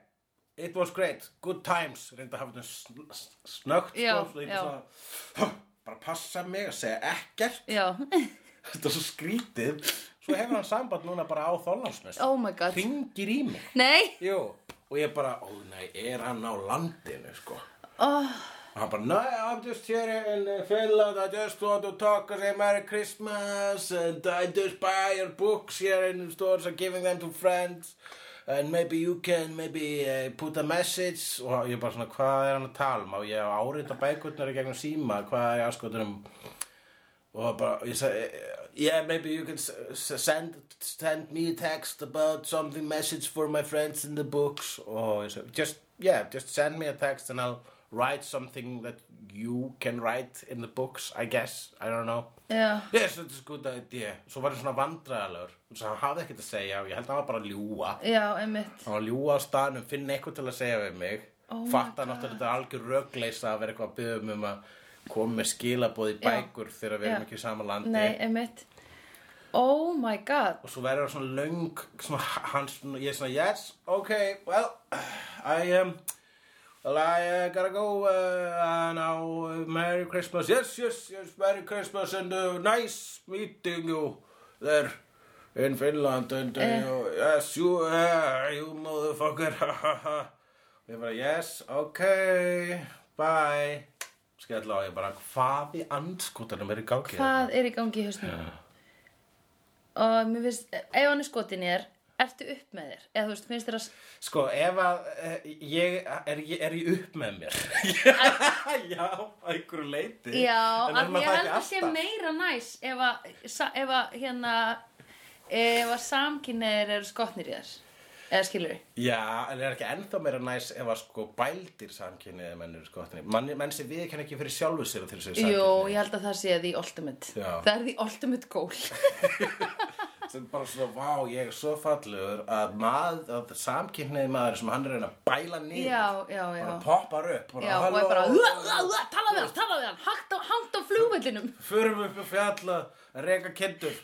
B: it was great, good times reynda að hafa þetta sn- sn- snöggt
A: Já,
B: sko, svo ég
A: já.
B: bara svona, bara passa mig að segja ekkert (laughs)
A: Já, (laughs)
B: þetta er svo skrítið svo hefur hann samband núna bara á þólansnes
A: oh my god
B: hringir í mig
A: Nei,
B: Jú, og ég bara, ó nei, er hann á landinu, sko.
A: oh,
B: Og hann bara, nei, I'm just here in Finland, I just want to talk and say Merry Christmas and I just buy your books here in the stores and giving them to friends and maybe you can maybe uh, put a message og ég bara svona, hvað er hann að tala um? Og ég á árita bækurnar í gegnum síma, hvað er aðskotunum? og bara, ég sagði eh, yeah, maybe you can s- s- send, send me a text about something message for my friends in the books og ég sagði, just, yeah, just send me a text and I'll write something that you can write in the books I guess, I don't know
A: já,
B: yes, that's a good idea svo var ég svona vandræðalegur og hann hafði ekkert að segja og ég held að hann var bara að ljúga
A: já, einmitt
B: hann var að ljúga á staðnum, finn eitthvað til að segja við mig
A: Oh my
B: fatta náttúrulega þetta er algjör rögleisa að vera eitthvað að byggja um að koma með skilaboð í
A: Já.
B: bækur þegar við erum
A: Já.
B: ekki í sama landi
A: Nei, einmitt Oh my god
B: og svo verður það svona löng svona, hann, svona, ég er svona yes, ok, well I um, well I uh, gotta go uh, now, uh, Merry Christmas yes, yes, yes, Merry Christmas and uh, nice meeting you there in Finland and uh, you- yes, you uh, you motherfucker (laughs) og ég bara yes, ok bye skell á ég bara, hvað í andskotanum er í gangi
A: Hvað er í gangi í hausnum? Og mér finnst, ef hann er skotin í þér, ertu upp með þér? Eða þú veist, finnst þér að,
B: Sko, ef að eh, ég er, ég er ég upp með mér Já, að einhverju leiti
A: já,
B: En er
A: að
B: maður
A: ég
B: það
A: held
B: ekki
A: að sé
B: alltaf?
A: meira næs ef að, sa- ef að hérna, ef að samkynneir eru skotnir í þér, eða skilur við?
B: Já, en er ekki ennþá meira næs ef að sko bældir samkynnið menn eru skotni Man, Menn sem við kenn ekki fyrir sjálfu sér til þessu
A: Jú,
B: samkynnið
A: ég held að það sé því ultimate.
B: Já.
A: Það er því ultimate goal.
B: Sem bara svona, vá, ég er svo fallegur að, mað, að samkynnið maður sem hann er að reyna að bæla
A: (laughs)
B: niður
A: já, já, já.
B: bara poppar upp bara,
A: Já, og
B: "Halló,
A: er bara, "Ua, ua, ua, tala við hann, tala við hann, hangt á, hangt á flugvellinum.
B: Förum upp og fjalla að reka
A: (laughs)
B: kindur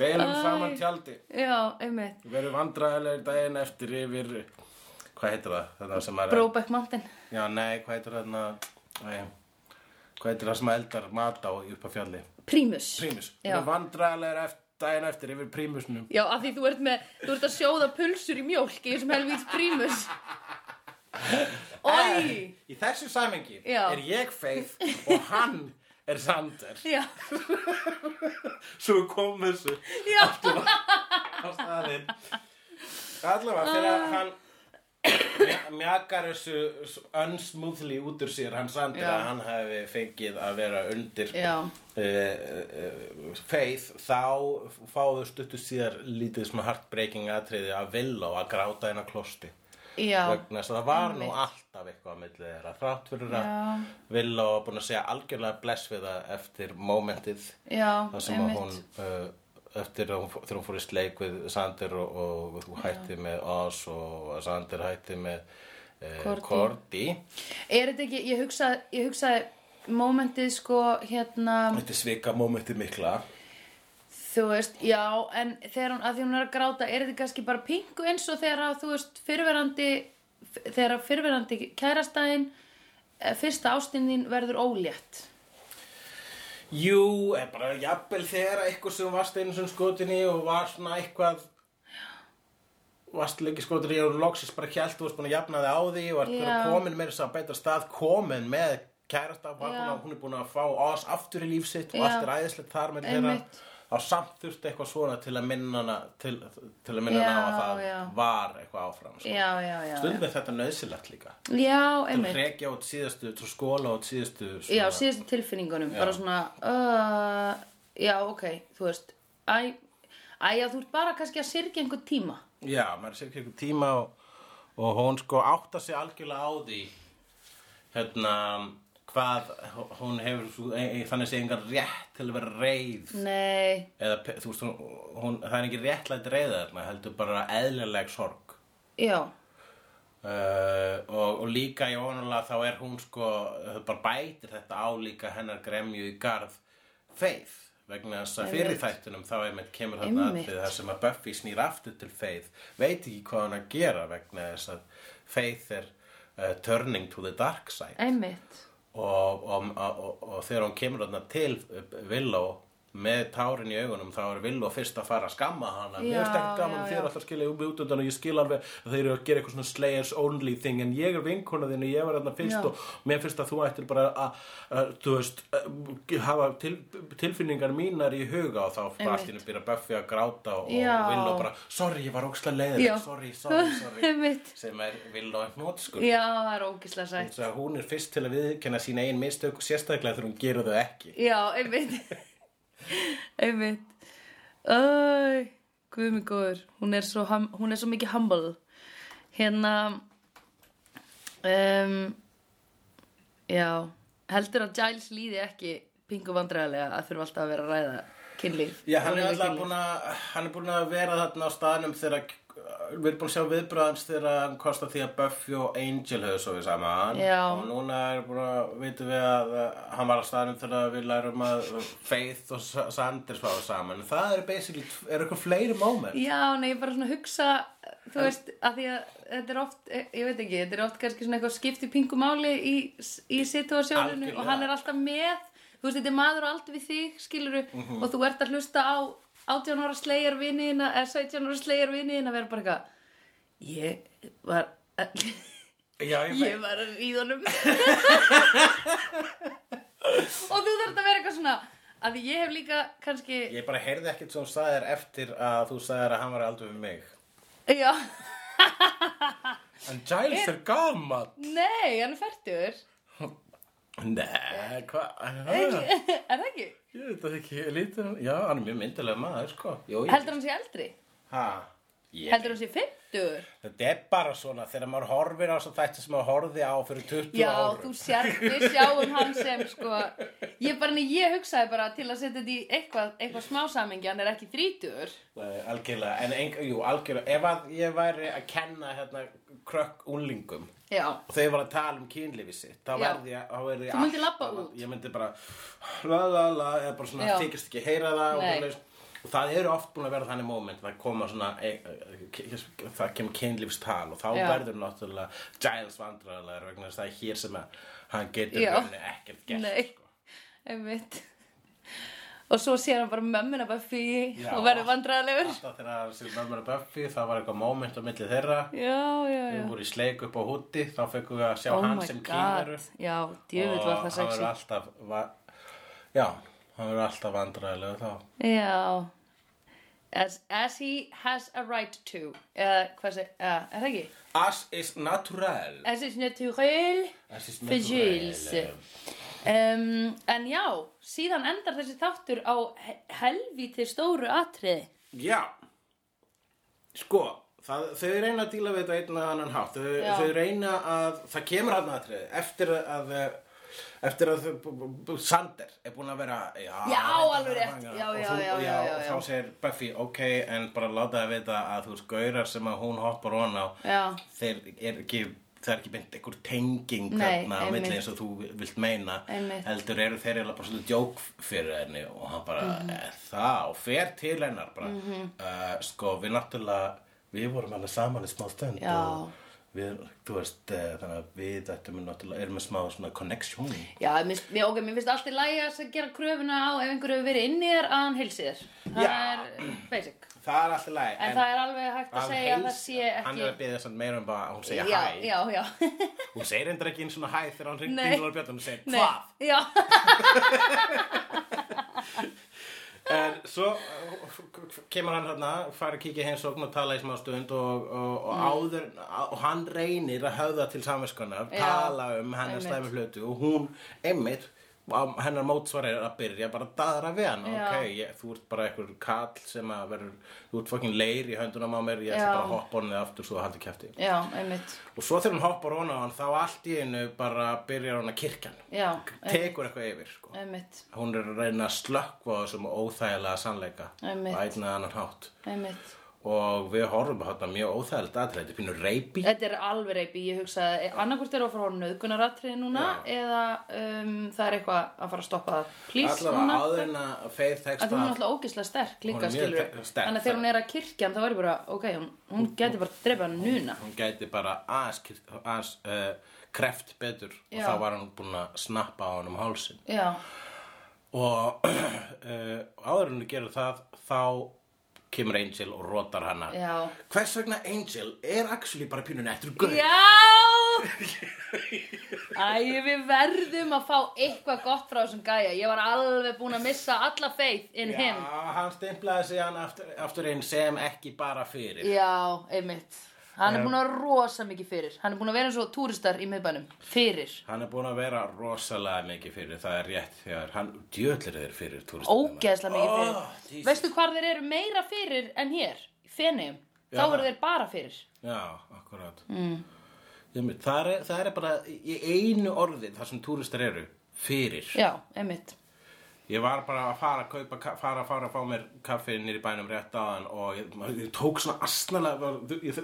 B: Deilum saman tjaldi
A: Já, einmitt.
B: Við verðum vandræðilegir daginn eftir yfir Hvað heitir það? Þetta sem er
A: Brokeback Mountain.
B: Já, nei, hvað heitir þarna Æ, Hvað heitir það sem eldar mat á upp á fjalli?
A: Prímus.
B: Prímus Við
A: Já.
B: verðum vandræðilegir eftir, daginn eftir yfir prímusnum
A: Já, af því þú ert með, þú ert að sjóða pulsur í mjólk í þessum helvíts (laughs) prímus. Oi!
B: Í þessu samengi
A: Já.
B: er ég feið og hann er Sander
A: Já,
B: Svo kom þessu
A: já,
B: á staðinn Allavega þegar
A: Ah.
B: hann mja- mjakar þessu unsmoothly út úr sér hann Sander
A: Já.
B: að hann hefði fengið að vera undir
A: já,
B: uh, feið þá fáðu stuttu síðar lítið svona heartbreaking atriði að vilja að gráta hennar klosti
A: já,
B: vegna þess að það var nú
A: Einmitt.
B: alltaf eitthvað á milli þeirra þrátt fyrir að
A: Já.
B: vilja að búin að segja algjörlega bless við það eftir momentið
A: já,
B: þar sem að hún uh, eftir að hún, fó- þegar hún fór í sleik við Sander og, og þú hætti með Oz og Sander hætti með uh,
A: Cordy.
B: Korti
A: Er þetta ekki, ég hugsaði, ég hugsaði momentið sko, hérna,
B: þetta er svika momentið mikla
A: þú veist, já, en þegar hún, að því hún er að gráta, er þetta kannski bara pingu eins og þegar að, þú veist, fyrirverandi, þegar að fyrirverandi kærastæðin, eh, fyrsta ástin þín verður ólétt.
B: Jú, er bara jafnvel þegar eitthvað sem varst einu sem skotinni og var svona eitthvað varst líka skotur í og loksist bara kjælt þú varst búin að jafna þig á því og varst búin
A: Já.
B: að komin meira þess að betra stað komin með kærasta var
A: Já.
B: hún, að, hún er búin að fá oss aftur í líf sitt
A: Já.
B: og allt er æðislegt þar með þeirra
A: Einmitt.
B: þá samt þurfti eitthvað svona til að minna hana til, til að minna
A: Já,
B: hana á að það
A: já.
B: var eitthvað áfram sko.
A: já, já, já, já.
B: stundum er þetta nöðsilegt líka
A: Já,
B: til
A: einmitt.
B: að rekja út síðastu, til að skóla út síðastu
A: Já, síðustu tilfinningunum, bara svona, uh, já, ok, þú veist, æ, æ, já, þú ert bara kannski að syrgja einhvern tíma.
B: Já, maður sér ekki einhver tíma og, og hún sko átta sig algjörlega á því hérna hvað hún hefur svo- e- e- þannig sé engan rétt til að vera reið
A: Nei,
B: eða pe- þú veist hún, hún það er ekki réttlætt reiða þarna heldur bara eðlileg sorg
A: já,
B: Uh, og, og líka í onulega þá er hún sko, það bara bætir þetta á líka hennar gremju í garð feið, vegna þess að fyrir þættunum þá einmitt kemur þarna
A: Einmitt.
B: atrið þar sem að Buffy snýr aftur til feið veit ekki hvað hann að gera vegna þess að feið er uh, turning to the dark side
A: einmitt,
B: og, og, og, og þegar hún kemur þarna til Villó með tárin í augunum þá er Villó fyrst að fara að skamma hana ég
A: Já,
B: veist ekki gaman
A: já,
B: þér
A: já.
B: alltaf skilja um út undan og ég skil alveg að þeir eru að gera eitthvað svona slayers only thing en ég er vinkona þín og ég var þarna fyrst
A: Já.
B: og mér finnst að þú ættir bara að, að þú veist, að hafa til, tilfinningar mínar í huga og þá bara allt í henni byrja Buffy að gráta og
A: Já.
B: Villó bara, sorry, ég var óksla
A: Já.
B: leiðileg sorry, sorry,
A: (laughs)
B: sorry
A: Einmitt.
B: sem er Villó en hnótskur
A: já, það er ógislega sætt.
B: Svo að hún er fyrst til að viðkenna sín eigin mistök og sérstaklega þegar hún gerur þau ekki.
A: Já, einmitt, (laughs) einmitt, æ, guðmi góður, hún er svo, hum, hún er svo mikið humble. Hérna, um, já, heldur að Giles líði ekki pingu vandræðilega að þurfa alltaf að vera að ræða kynlíf.
B: Já, hann er
A: Vonandi
B: alltaf
A: kynlíf.
B: búin að, hann er búin að vera þarna á staðnum þegar, við erum búin að sjá viðbröðans þegar hann kosta því að Buffy og Angel höfðu svo við saman.
A: Já.
B: Og núna er búin að, vitum við að uh, hann var á staðnum þegar við lærum að Faith og Sa- Sanders var saman. En það eru basically, eru eitthvað fleiri moment.
A: Já, nei, ég bara svona hugsa, þú veist, að því að þetta er oft, eh, ég veit ekki, þetta er oft kannski svona eitthvað skipt í pingumáli í, í situasjóninu
B: Algjörlega.
A: og hann er alltaf með, þú veist, þetta er maður og aldrei við þig, skiluru, og þú ert að hlusta á 18 ára slegjar viniðina, eða 17 ára slegjar viniðina, vera bara eitthvað, ég var, (laughs)
B: Já, ég
A: ég var að ríða honum. (laughs) og þú þarf að vera eitthvað svona, að því ég hef líka kannski,
B: Ég bara heyrði ekkert sem þú sagðir eftir að þú sagðir að hann var aldrei við mig.
A: já,
B: En Giles er gaman.
A: nei, hann er færtur.
B: Nei, hvað?
A: er það ekki?
B: Eh, Ég veit það ekki, ég lítið hann, já, hann er mjög myndilega maður, sko. Jó, ég...
A: Heldur hann sé eldri?
B: Ha? Ég...
A: Heldur hann sé 50?
B: Þetta er bara svona, þegar maður horfir á svo þætti sem maður horfði á fyrir 20
A: Já, þú
B: árum.
A: sér, við sjáum hann sem sko Ég bara, nei, ég hugsaði bara til að setja þetta í eitthvað, eitthvað smá samengi, hann er ekki 30
B: Nei, Eh, algjörlega, en ein, jú, algjörlega, ef að ég væri að kenna hérna krökk unlingum
A: Já,
B: og þau var að tala um kynlífi sitt, þá
A: Já.
B: verði ég, þá verði ég
A: Þú myndir
B: alltaf
A: labba
B: að-
A: út.
B: Ég myndi bara, la la la, eða bara svona,
A: Já.
B: þykist ekki heyra það og
A: Nei.
B: það leist. Og það eru oft búin að vera þannig moment, það koma svona, e, e, e, það kemur kynlífstal og þá
A: Já.
B: verður náttúrulega Giles vandræðilegur vegna þess að það er hér sem að hann getur
A: Já.
B: rauninni ekkert gert.
A: nei,
B: sko.
A: einmitt Og svo sér hann bara mömmina bara fyrir
B: Já.
A: og verður vandræðalegur
B: Alltaf þegar hann sér mömmur að Buffy, það var eitthvað moment á milli þeirra,
A: Já, já, já
B: við vorum í sleik upp á húti, þá fekkum við að sjá
A: Oh
B: hann
A: my
B: sem
A: god,
B: kýnaru.
A: já, djöfull var það
B: Og hann
A: sexy
B: verður alltaf va Já, hann verður alltaf vandræðilegu þá
A: Já As, as he has a right to eða hvað sé, eða, er það ekki?
B: As is natural
A: As is naturel
B: As is
A: for Jules um, En já, síðan endar þessi þáttur á he- helvíti stóru atriði
B: Já Sko, það, þau reyna að díla við þetta einn að annan hátt þau,
A: Já.
B: þau reyna að, það kemur hann aðtrið Eftir að eh, Eftir að þau- b- b- b- Sander er búin að vera Já,
A: Já,
B: þetta
A: alveg
B: er
A: rétt.
B: hann,
A: Já,
B: og
A: já,
B: þú-
A: já,
B: og
A: já, já,
B: og
A: já.
B: Þá segir Buffy, ok, en bara láta það vita að þú skaurar sem að hún hoppar on á
A: Já,
B: þeir er ekki það er ekki beint einhver tenging
A: Nei,
B: þarna á
A: einmitt.
B: milli eins og þú vilt meina
A: Einmitt.
B: heldur eru þeir eiginlega bara svolítið djók fyrir henni og hann bara
A: Mhm.
B: mm það og fer til Eh, hennar bara mm sko við náttúrulega við vorum alveg saman í smá stund
A: Já.
B: og við, þú veist, eh, þannig að við ættum náttúrulega, erum með smá svona connection
A: Já, mér, finnst- mér, ok, mér finnst alltaf lægi að gera kröfuna á ef einhver hefur verið inni þér að hann heilsi þér. Það
B: Já.
A: er basic.
B: það er alltaf læg
A: En, það er alveg hægt að segja að það sé ekki...
B: hann er að byggja samt meira um bara að hún segja
A: já,
B: hæ
A: Já, (laughs) já.
B: hún segir endur ekki eins svona hæ þegar hann
A: Nei.
B: ringir Ingvar Björn hún segir
A: Nei,
B: hvað
A: Já.
B: En svo uh, f- f- kemur hann hérna, fara að kíkja í heimsókn og tala í smá stund og, og,
A: Mm.
B: og áður, á- og hann reynir að höfða til samvinskunar,
A: Já,
B: tala um hennar
A: einmitt.
B: slæmi hlutu og hún, einmitt, á- hennar mótsvar er að byrja bara að daðra við hann,
A: Já.
B: ok, ég, þú ert bara einhver kall sem að verður, þú ert fokkin leir í höndunum á mér, ég ætla
A: Já.
B: bara að hoppa honið aftur svo það haldi kæfti.
A: já, einmitt.
B: Og svo þegar hún hoppar honið á hann, þá allt í einu bara byrjar hann að kirkja hann,
A: Já,
B: tekur eitthvað yfir, sko
A: einmitt.
B: hún er að reyna að slökkva á þessum óþægilega sannleika
A: Einmitt.
B: á einn eða annan hátt
A: Einmitt.
B: og við horfum á þetta mjög óþægilegt aðræði þetta er pínu reypi
A: Þetta er alveg reypi, ég hugsaði, annarkvort er að fara á nöðgunaratriði núna eða um, það er eitthvað að fara að stoppa það. Please,
B: allavega
A: núna.
B: áður en að
A: að hún
B: feið
A: er
B: texta
A: alltaf ógislega sterk
B: Hún
A: líka
B: er mjög
A: skilur
B: te- sterk,
A: þannig að þegar hún er að kirkja hann þá er ég bara, ok, hún, hún geti bara drepa hann núna
B: hún gæti bara aðeins kyrt- aðeins, eh, kreft betur
A: Já.
B: og þá var hann búin að snappa á hann um hálsin
A: já,
B: og (clears throat) uh, áður en hún gerir það þá kemur Angel og rotar hana
A: já
B: hvers vegna Angel er actually bara pínu nettur guð
A: já æ, við verðum að fá eitthvað gott frá þessum gæja ég var alveg búin að missa alla faith in him
B: Já, hann stimplaði sig hann aftur, aftur inn sem ekki bara fyrir.
A: já, einmitt hann er búin að vera rosa mikið fyrir hann er búin að vera eins og túristar í miðbænum fyrir,
B: Hann er búinn að vera rosalega mikið fyrir, það er rétt þegar hann djöðlir þeir fyrir túristum.
A: ógeðslega mikið fyrir
B: Ah, Jesus.
A: veistu hvar þeir eru meira fyrir en hér í fenniðum, þá
B: Já.
A: eru þeir bara fyrir
B: Já, akkurát. Mm. Mynd, það, er, það er bara í einu orði þar sem túristar eru, fyrir.
A: já, einmitt
B: Ég var bara að fara að kaupa, ka- fara, fara að fá mér kaffi nýri bænum rétt aðan og ég, maður, ég tók svona astnalega,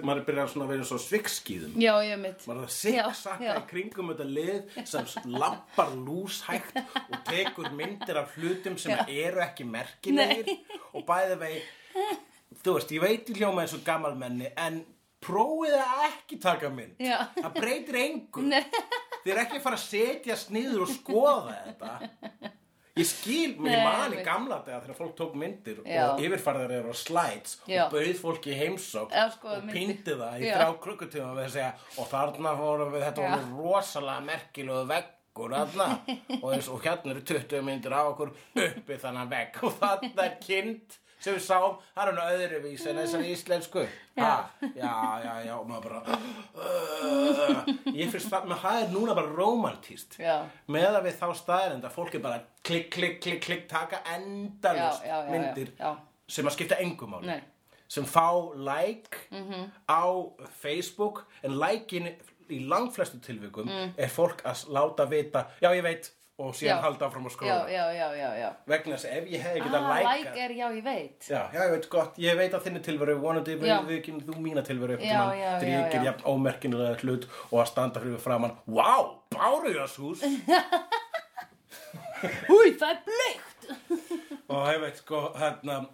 B: maður er byrjað svona að vera svo svikskýðum.
A: Já, ég mitt.
B: maður er að
A: Já,
B: siksakka
A: já.
B: í kringum þetta lið sem lappar lúshægt og tekur myndir af hlutum sem eru ekki merkilegir og bæði vei þú veist, ég veit ég hljóma eins og gamalmenni en prófið að ekki taka mynd
A: Já.
B: það breytir engu þið er ekki að fara að setja sniður og skoða þetta ég skil, menn ég
A: Nei,
B: man í
A: einmitt.
B: gamla þegar þegar fólk tók myndir
A: Já.
B: og yfirfarðar eru á slides
A: Já.
B: og bauð fólki í heimsók
A: Eða skoða
B: og
A: myndir.
B: pindi það í
A: Já.
B: þrjá klukkutíma við að segja og þarna vorum við þetta
A: Já.
B: voru rosalega merkilegu veggur
A: (laughs)
B: þarna og, eins, og hérna eru 20 myndir á okkur uppi þannan vegg og þarna er kind sem við sáum, það er hann öðruvís en þessari íslensku ha, já, já, já, og maður bara uh, ég finnst það, maður það er núna bara romantíst
A: Já.
B: með að við þá staðarind að fólk er bara klikk, klikk, klikk, klikk, taka endalust
A: Já, já, já, já,
B: myndir
A: já.
B: sem að skipta engum máli
A: Nei.
B: sem fá like á Facebook en like-in í langflestu tilvikum er fólk að láta vita já ég veit og síðan
A: Mm. Já.
B: halda áfram að skróla
A: Já, já, já, já, já.
B: vegna þess að ef ég hefði getað
A: Ah,
B: ah,
A: like
B: like
A: er, já, ég veit.
B: Já, já, ég veit gott, ég veit að þinni tilveru, vonandi
A: Já.
B: við kynni þú mína tilveru
A: Já, já,
B: þegar
A: já,
B: ég
A: já.
B: ger jafn ómerkinulega hlut og að standa fyrir framann, wow, bárujashús
A: Húi, það er bleikt!
B: og ég veit sko hérna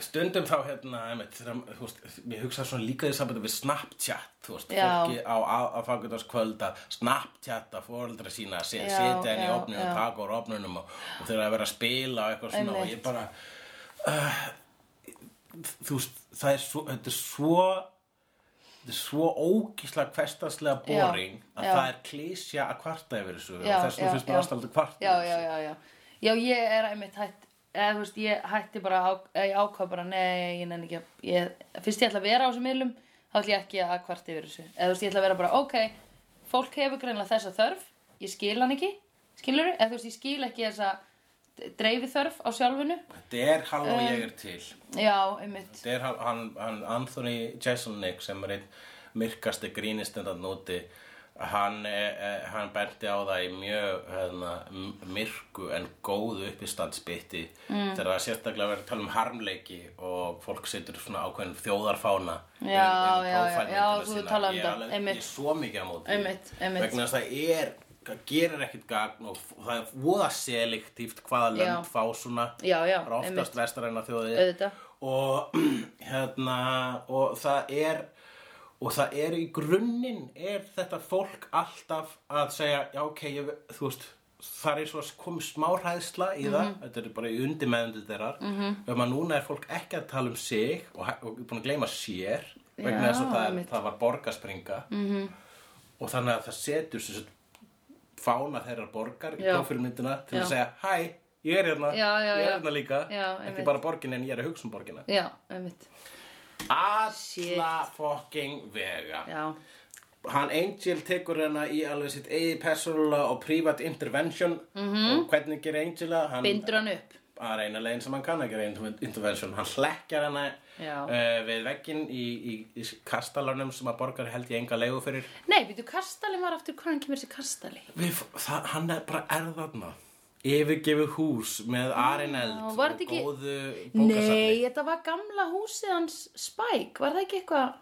B: stundum þá hérna einmitt, þegar, þú veist, ég hugsa svona líka í sambandi við Snapchat þú veist,
A: Já.
B: fólki á aðfangundarskvöld að Snapchatta fóreldra sína se-
A: Já,
B: setja henni í
A: já,
B: opninu
A: já.
B: og taka úr opninum og, og þeir eru að vera að spila og eitthvað svona og
A: Einmitt.
B: ég bara uh, þú veist, það er svo þetta er svo þetta er svo ógíslega hverstaslega
A: Já,
B: boring að
A: já.
B: það er klísja að kvarta yfir
A: Já,
B: þessu og
A: já,
B: þess vegna finnst maður
A: já.
B: alltaf að kvarta
A: Já,
B: yfir
A: já,
B: þessu.
A: já, já. Já, ég er einmitt hætt, eða, þú veist, ég hætti bara, á, eða, ég ákvað bara, nei, ég nenni ekki að, ég, fyrst ég ætla að vera á þessum miðlum, þá ætla ég ekki að kvart yfir þessu. Eða, þú veist, ég ætla að vera bara, ok, fólk hefur greinlega þessa þörf, ég skil hann ekki, skilur eða, þú veist, ég skil ekki þessa dreifi þörf á sjálfinu.
B: þetta er hálfa ég er til
A: Já, einmitt.
B: Þetta er hann- hann, hann Anthony Jeselnik sem er einn myrkasti grínistendan úti hann, eh, eh, hann benti á það í mjög hefna, myrku en góðu uppistandsbytti mm. þegar það sérstaklega verið að tala um harmleiki og fólk setur svona ákveðin þjóðarfána yfir-
A: Já, já,
B: yfir
A: já.
B: prófælmyndina
A: Já, þú hefur
B: sína.
A: talað um
B: Ég er
A: þetta.
B: alveg-
A: Einmitt.
B: Ég er svo mikið á móti því.
A: Einmitt, einmitt.
B: vegna þess að það er það gerir ekkert gagn og f- það er voða selektíft hvaða lönd
A: Já.
B: fá svona
A: Já, já,
B: Það eru oftast (clears throat) vestaræna þjóðið
A: Auðvitað.
B: og hérna og það er og það er í grunninn er þetta fólk alltaf að segja já ok, ég, þú veist það er svo komið smá hræðsla í það
A: Mhm.
B: þetta er bara í undirmeðundu þeirrar mm -hmm. núna er fólk ekki að tala um sig og, hæ- og búin að gleyma sér vegna
A: Já,
B: þess að það, er,
A: einmitt. Mhm.
B: það var borgarspringa -hmm. og þannig að það setur sér fána þeirrar borgar í
A: Já.
B: prófilmyndina til
A: Já,
B: að segja hæ, ég er hérna,
A: Já, já,
B: ég er
A: já.
B: hérna líka
A: Já,
B: ekki
A: einmitt.
B: bara borgin en ég er að hugsa um borgina
A: já, einmitt
B: alla fucking vega
A: já,
B: hann Angel tekur hana í alveg sitt eigið persónulega og prívat intervention
A: Mhm.
B: -hmm. og hvernig gerir Angel það? Hann-
A: bindur hann upp
B: að reyna leiðin sem hann kann að gera inter- intervention hann hlekkjar hana
A: Já.
B: uh, við vegginn í, í, í kastalanum sem að borgar held ég enga leigu fyrir
A: nei, býtu, kastalin var aftur hvaðan kemur þessi kastali
B: við, það, hann er bara erðarna yfirgefið hús með arineld
A: Já,
B: og
A: var þetta ekki-
B: góðu
A: nei,
B: bókasafni
A: þetta var gamla húsið hans Spike, var það ekki eitthvað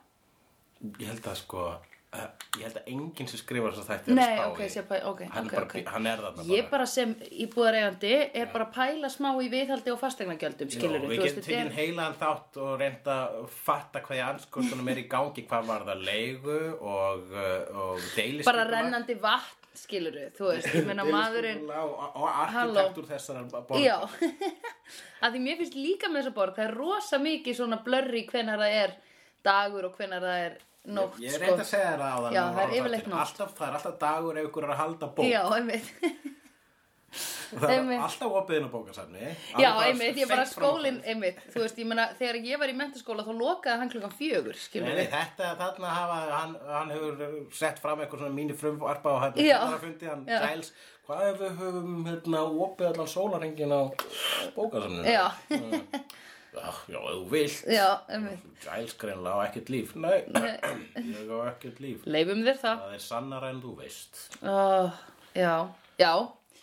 B: ég held að sko uh, ég held að enginn sem skrifar þess að þetta
A: nei, ok, sé að pæ, ok,
B: hann,
A: ok,
B: er bara,
A: ok
B: hann er þarna
A: Ég bara sem íbúðareigandi er bara að pæla smá í viðhaldi og fastegnagjöldum, skilur
B: Jó, við getum tekið heilaðan þátt og reynda að fatta hvað ég anskotunum er í gangi hvað var það leigu og, uh, og deilist
A: bara rennandi vatn, skilur þú veist, ég menna maðurinn
B: og, og arkitektur þessar borgar
A: Já, (laughs) að því mér finnst líka með þessa borg, það er rosa mikið svona blörri hvenar það er dagur og hvenar það er nótt sko.
B: ég er reynd að segja þér það á
A: Já, það er yfirleitt nótt.
B: alltaf, það er alltaf dagur ef ykkur er að halda bók
A: Já,
B: (laughs)
A: einmitt,
B: það er
A: einmitt.
B: alltaf opið inn á bókasafni
A: já, einmitt, ég bara skólinn, einmitt, þú veist, ég meina, þegar ég var í mentaskóla þá lokaði hann klukkan fjögur,
B: Nei,
A: skilur
B: nei, þetta, þarna hafa, hann, hann hefur sett fram eitthvað svona mínu frumvarpa og hann
A: Já.
B: hann fundi hérna hann
A: Já.
B: gæls hvað ef við höfum hérna opið allan sólarengin á bókasamninu
A: Já, (laughs)
B: Já, já, ef þú vilt
A: já, einmitt,
B: gæls greinlega á ekkert líf Nei, (clears throat) ég á ekkert líf
A: leifum þér það,
B: Það er sannara en þú veist
A: oh, já, já,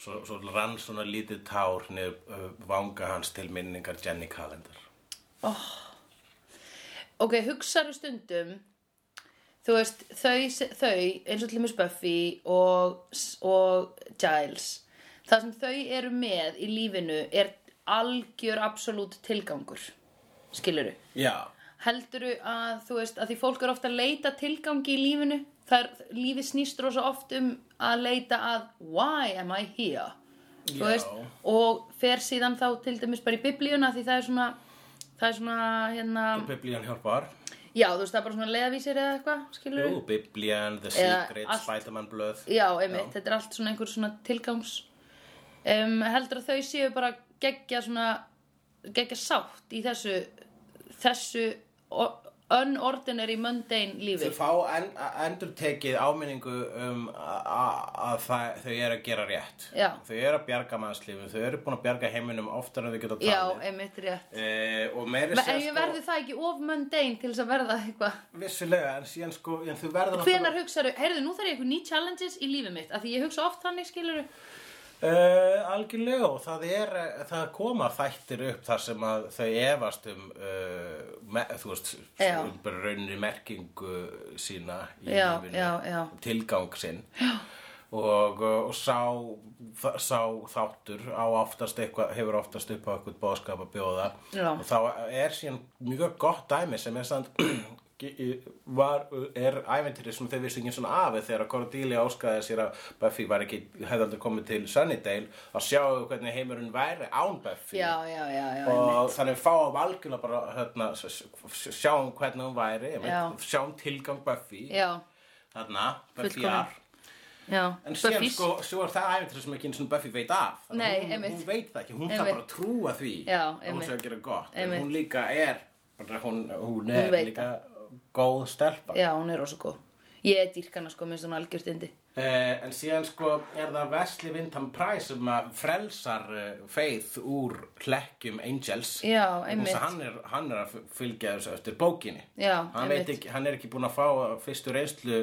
B: Svo, svo rann svona lítið tár niður uh, vanga hans til minningar Jenny Calendar.
A: ok, hugsaðu stundum, þú veist, þau, þau eins og til mér Buffy og, og Giles, það sem þau eru með í lífinu er algjör absolút tilgangur, skiluru.
B: Já.
A: Helduru að, þú veist, að því fólk er ofta að leita tilgangi í lífinu, það er, lífið snýst rosa oft um að leita að why am I here? Þú
B: Já.
A: Veist, og fer síðan þá til dæmis bara í biblíuna því það er svona, það er svona, hérna,
B: Biblían hjálpar.
A: já, þú veist, það er bara svona leiðavísir eða eitthvað, skilur
B: Jú, Biblían, The
A: Eða
B: Secret,
A: allt.
B: Spiderman blöð.
A: Já, einmitt, þetta er allt svona einhver svona tilgangs um, heldur að þau séu bara geggja svona geggja sátt í þessu þessu o- unordinary mundane lífi
B: Þau fá en, endur tekið áminningu um a- a- að það- þau eru að gera rétt.
A: Já.
B: Þau eru að bjarga mannslífum, þau eru búin að bjarga heiminum oftar en þau geta
A: Já,
B: talið.
A: einmitt rétt
B: Eh, og meiri
A: En ég sko- verði það ekki of mundane til þess að verða eitthvað
B: vissulega, en síðan sko, en þau verða
A: Hvenær hugsaðu, heyrðu, nú þarf ég eitthvað ný challenges í lífi mitt, af því ég hugsa oft þannig skilur
B: Uh, algjörlega og það er það koma þættir upp þar sem að þau efast um uh, me, þú veist,
A: Já.
B: um bara rauninni merkingu sína í
A: Já,
B: lífinu,
A: já, já.
B: tilgang sinn og, og sá, þa- sá þáttur á oftast eitthvað, hefur oftast upp á eitthvað bóðskap að bjóða
A: Já.
B: og þá er síðan mjög gott dæmi sem er samt (clears throat) ge- var, er æventyri sem þau vissu ekki svona af þegar að Cordelia óskaði sér að Buffy var ekki, hefði aldrei komið til Sunnydale að sjá hvernig heimurinn væri án Buffy
A: Já, já, já, já
B: og þannig fáum algjörlega bara hérna, s- s- sjáum hvernig hún væri ég
A: Já.
B: veit, sjáum tilgang Buffy
A: Já,
B: þarna, Buffy
A: Fullkomin.
B: ar
A: já,
B: En síðan
A: Buffy's.
B: sko, svo er það æfintur sem ekki eins og Buffy veit af. Þannig
A: Nei,
B: hún,
A: einmitt.
B: Hún veit það ekki, hún þarf
A: Einmitt.
B: bara að trúa því
A: Já,
B: að hún
A: einmitt.
B: sé að gera gott. En
A: Einmitt.
B: hún líka er, bara hún, hún er
A: veit
B: líka góð stelpa.
A: Já, hún er rosa góð Ég er dýrkana sko, minnst hún algjört indi
B: Eh, en síðan sko er það Wesley Vintam Price sem að frelsar uh, feið úr hlekkjum Angels.
A: Já,
B: Vegna
A: einmitt.
B: þess að Hann er, hann er að fylgja þessu eftir bókinni.
A: Já,
B: hann, veit
A: einmitt.
B: ekki, hann er ekki búin að fá eh, fyrstu reynslu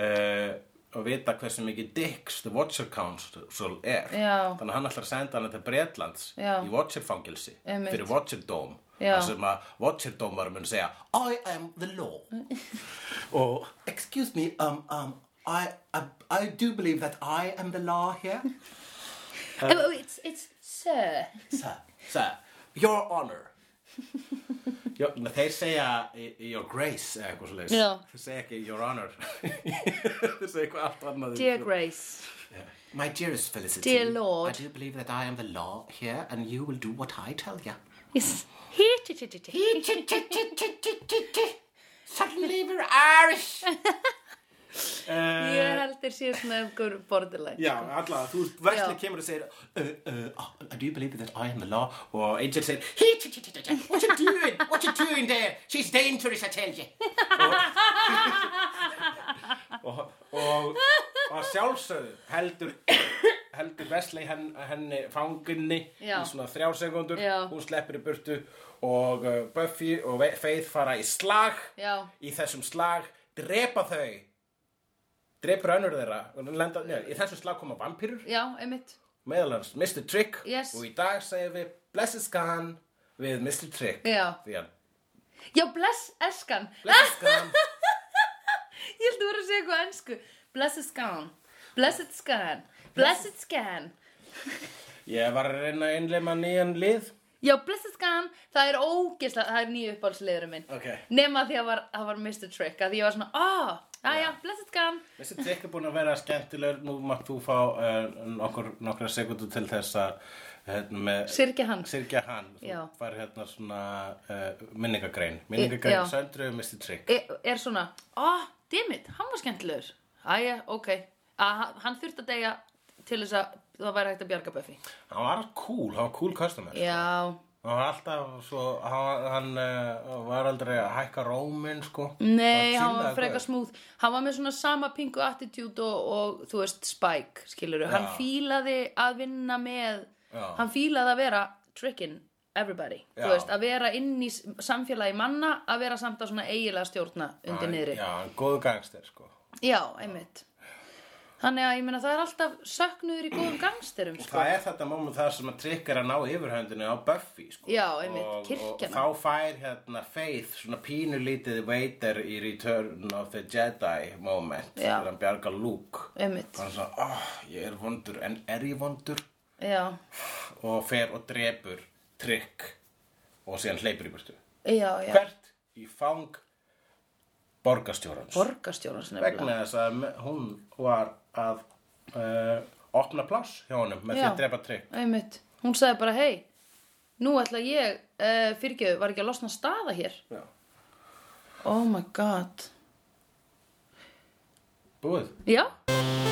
B: uh, að vita hversu mikið Dix, The Watcher Council, er.
A: Já.
B: Þannig að hann ætlar að senda hann til Bretlands
A: Já.
B: í Watcher fangilsi
A: Einmitt.
B: fyrir Watcher Dome.
A: Já.
B: þar sem að Watcher Dome mun segja I am the law. og excuse me, um, um, I, I, I do believe that I am the law here.
A: Oh, it's, it's, sir
B: Sir, sir, your honor, (laughs) Já, menn þeir segja eh, your grace eða eitthvað svo leiðis
A: Já.
B: Þeir segja ekki your honor (laughs) Þeir segja eitthvað allt annað
A: Dear Grace
B: My dearest Felicity
A: Dear Lord.
B: I do believe that I am the law here and you will do what I tell you
A: Yes Hí-tí-tí-tí-tí
B: Suddenly we're Irish
A: Ég held þér síðan svona einhver borderline
B: Já, allavega, þú veist, Wesley
A: Já.
B: kemur og segir uh, uh, oh, I do believe that I am the law og Angel segir "Hí, tí, tí, tí, tí, tí, What you doing? What you doing there? She's dangerous, I tell you Og, (laughs) og, og að sjálfsögðu heldur, heldur Wesley henn, henni fanginni
A: Já.
B: í svona þrjár sekundur
A: Já.
B: hún sleppir í burtu og uh, Buffy og Ve- Faith fara í slag
A: Já.
B: í þessum slag drepa þau drepur önnur þeirra og lenda, njö, í þessum slag koma vampýrur
A: Já, einmitt
B: meðal hans Mr. Trick
A: Yes.
B: og í dag segjum við Blesses Gone við Mr. Trick
A: Já.
B: því að
A: Já, bless eskan
B: Blesses
A: (laughs)
B: Gone
A: Ég held að vera að segja eitthvað ennsku Blessed scan Blessed scan Blessed scan
B: ég var að reyna að innleima nýjan lið
A: Já, blessed scan Það er ógeðslega, það er nýju uppáhaldsliðurinn minn
B: Ok.
A: Nema því að var, það var Mr. Trick að því ég var svona, ah, oh, já, blessed scan
B: Mr. Trick er búin að vera skemmtilegur nú mátt þú fá uh, nokkur, nokkra sekundu til þess að hérna, með-
A: Syrgja hann.
B: syrgja hann. þú
A: Já.
B: fær hérna svona uh, minningagrein minningagrein
A: já.
B: söndru um Mr. Trick
A: er, er svona, ah, dimmit, hann var skemmtilegur Æja, ok að, hann- Hann þurfti að deyja til þess að það væri hægt að bjarga Buffy
B: hann var cool, hann var cool customer
A: Já,
B: hann var alltaf svo hann, hann uh, var aldrei að hækka róminn sko
A: Nei, hann
B: chillaði
A: var frekar
B: gaur.
A: smúð Hann var með svona sama pingu attitude og, og þú veist, Spike, skilurðu Hann
B: Já.
A: fílaði að vinna með
B: Já.
A: Hann fílaði að vera trickin everybody,
B: Já.
A: þú veist, að vera inn í s- samfélagi manna, að vera samt að svona eigilega stjórna undir niðri
B: já, hann er góður gangster sko
A: Já, einmitt Þannig að ég meina það er alltaf söknuður í góðum gangsterum sko.
B: það er þetta moment þar sem að Trick er að ná yfirhöndinu á Buffy sko.
A: Já, einmitt,
B: og, og
A: kirkjana.
B: þá fær hérna Faith svona pínulítið Vader í Return of the Jedi moment
A: Já.
B: þegar hann bjargar Luke
A: Einmitt,
B: hann er svona, oh, ég er vondur en er ég vondur
A: já,
B: og fer og drepur Trick og síðan hleypur í burtu
A: já, já
B: hvert í fang borgarstjórans
A: Borgastjóran sem
B: vegna þess að me- hún var að uh, opna pláss hjá honum með
A: Já.
B: því að drepa Trick
A: Einmitt. Hún sagði bara, hei, nú ætla ég, uh, fyrirgeðu, var ekki að losna staða hér?
B: Já.
A: Oh my god.
B: búið
A: Já,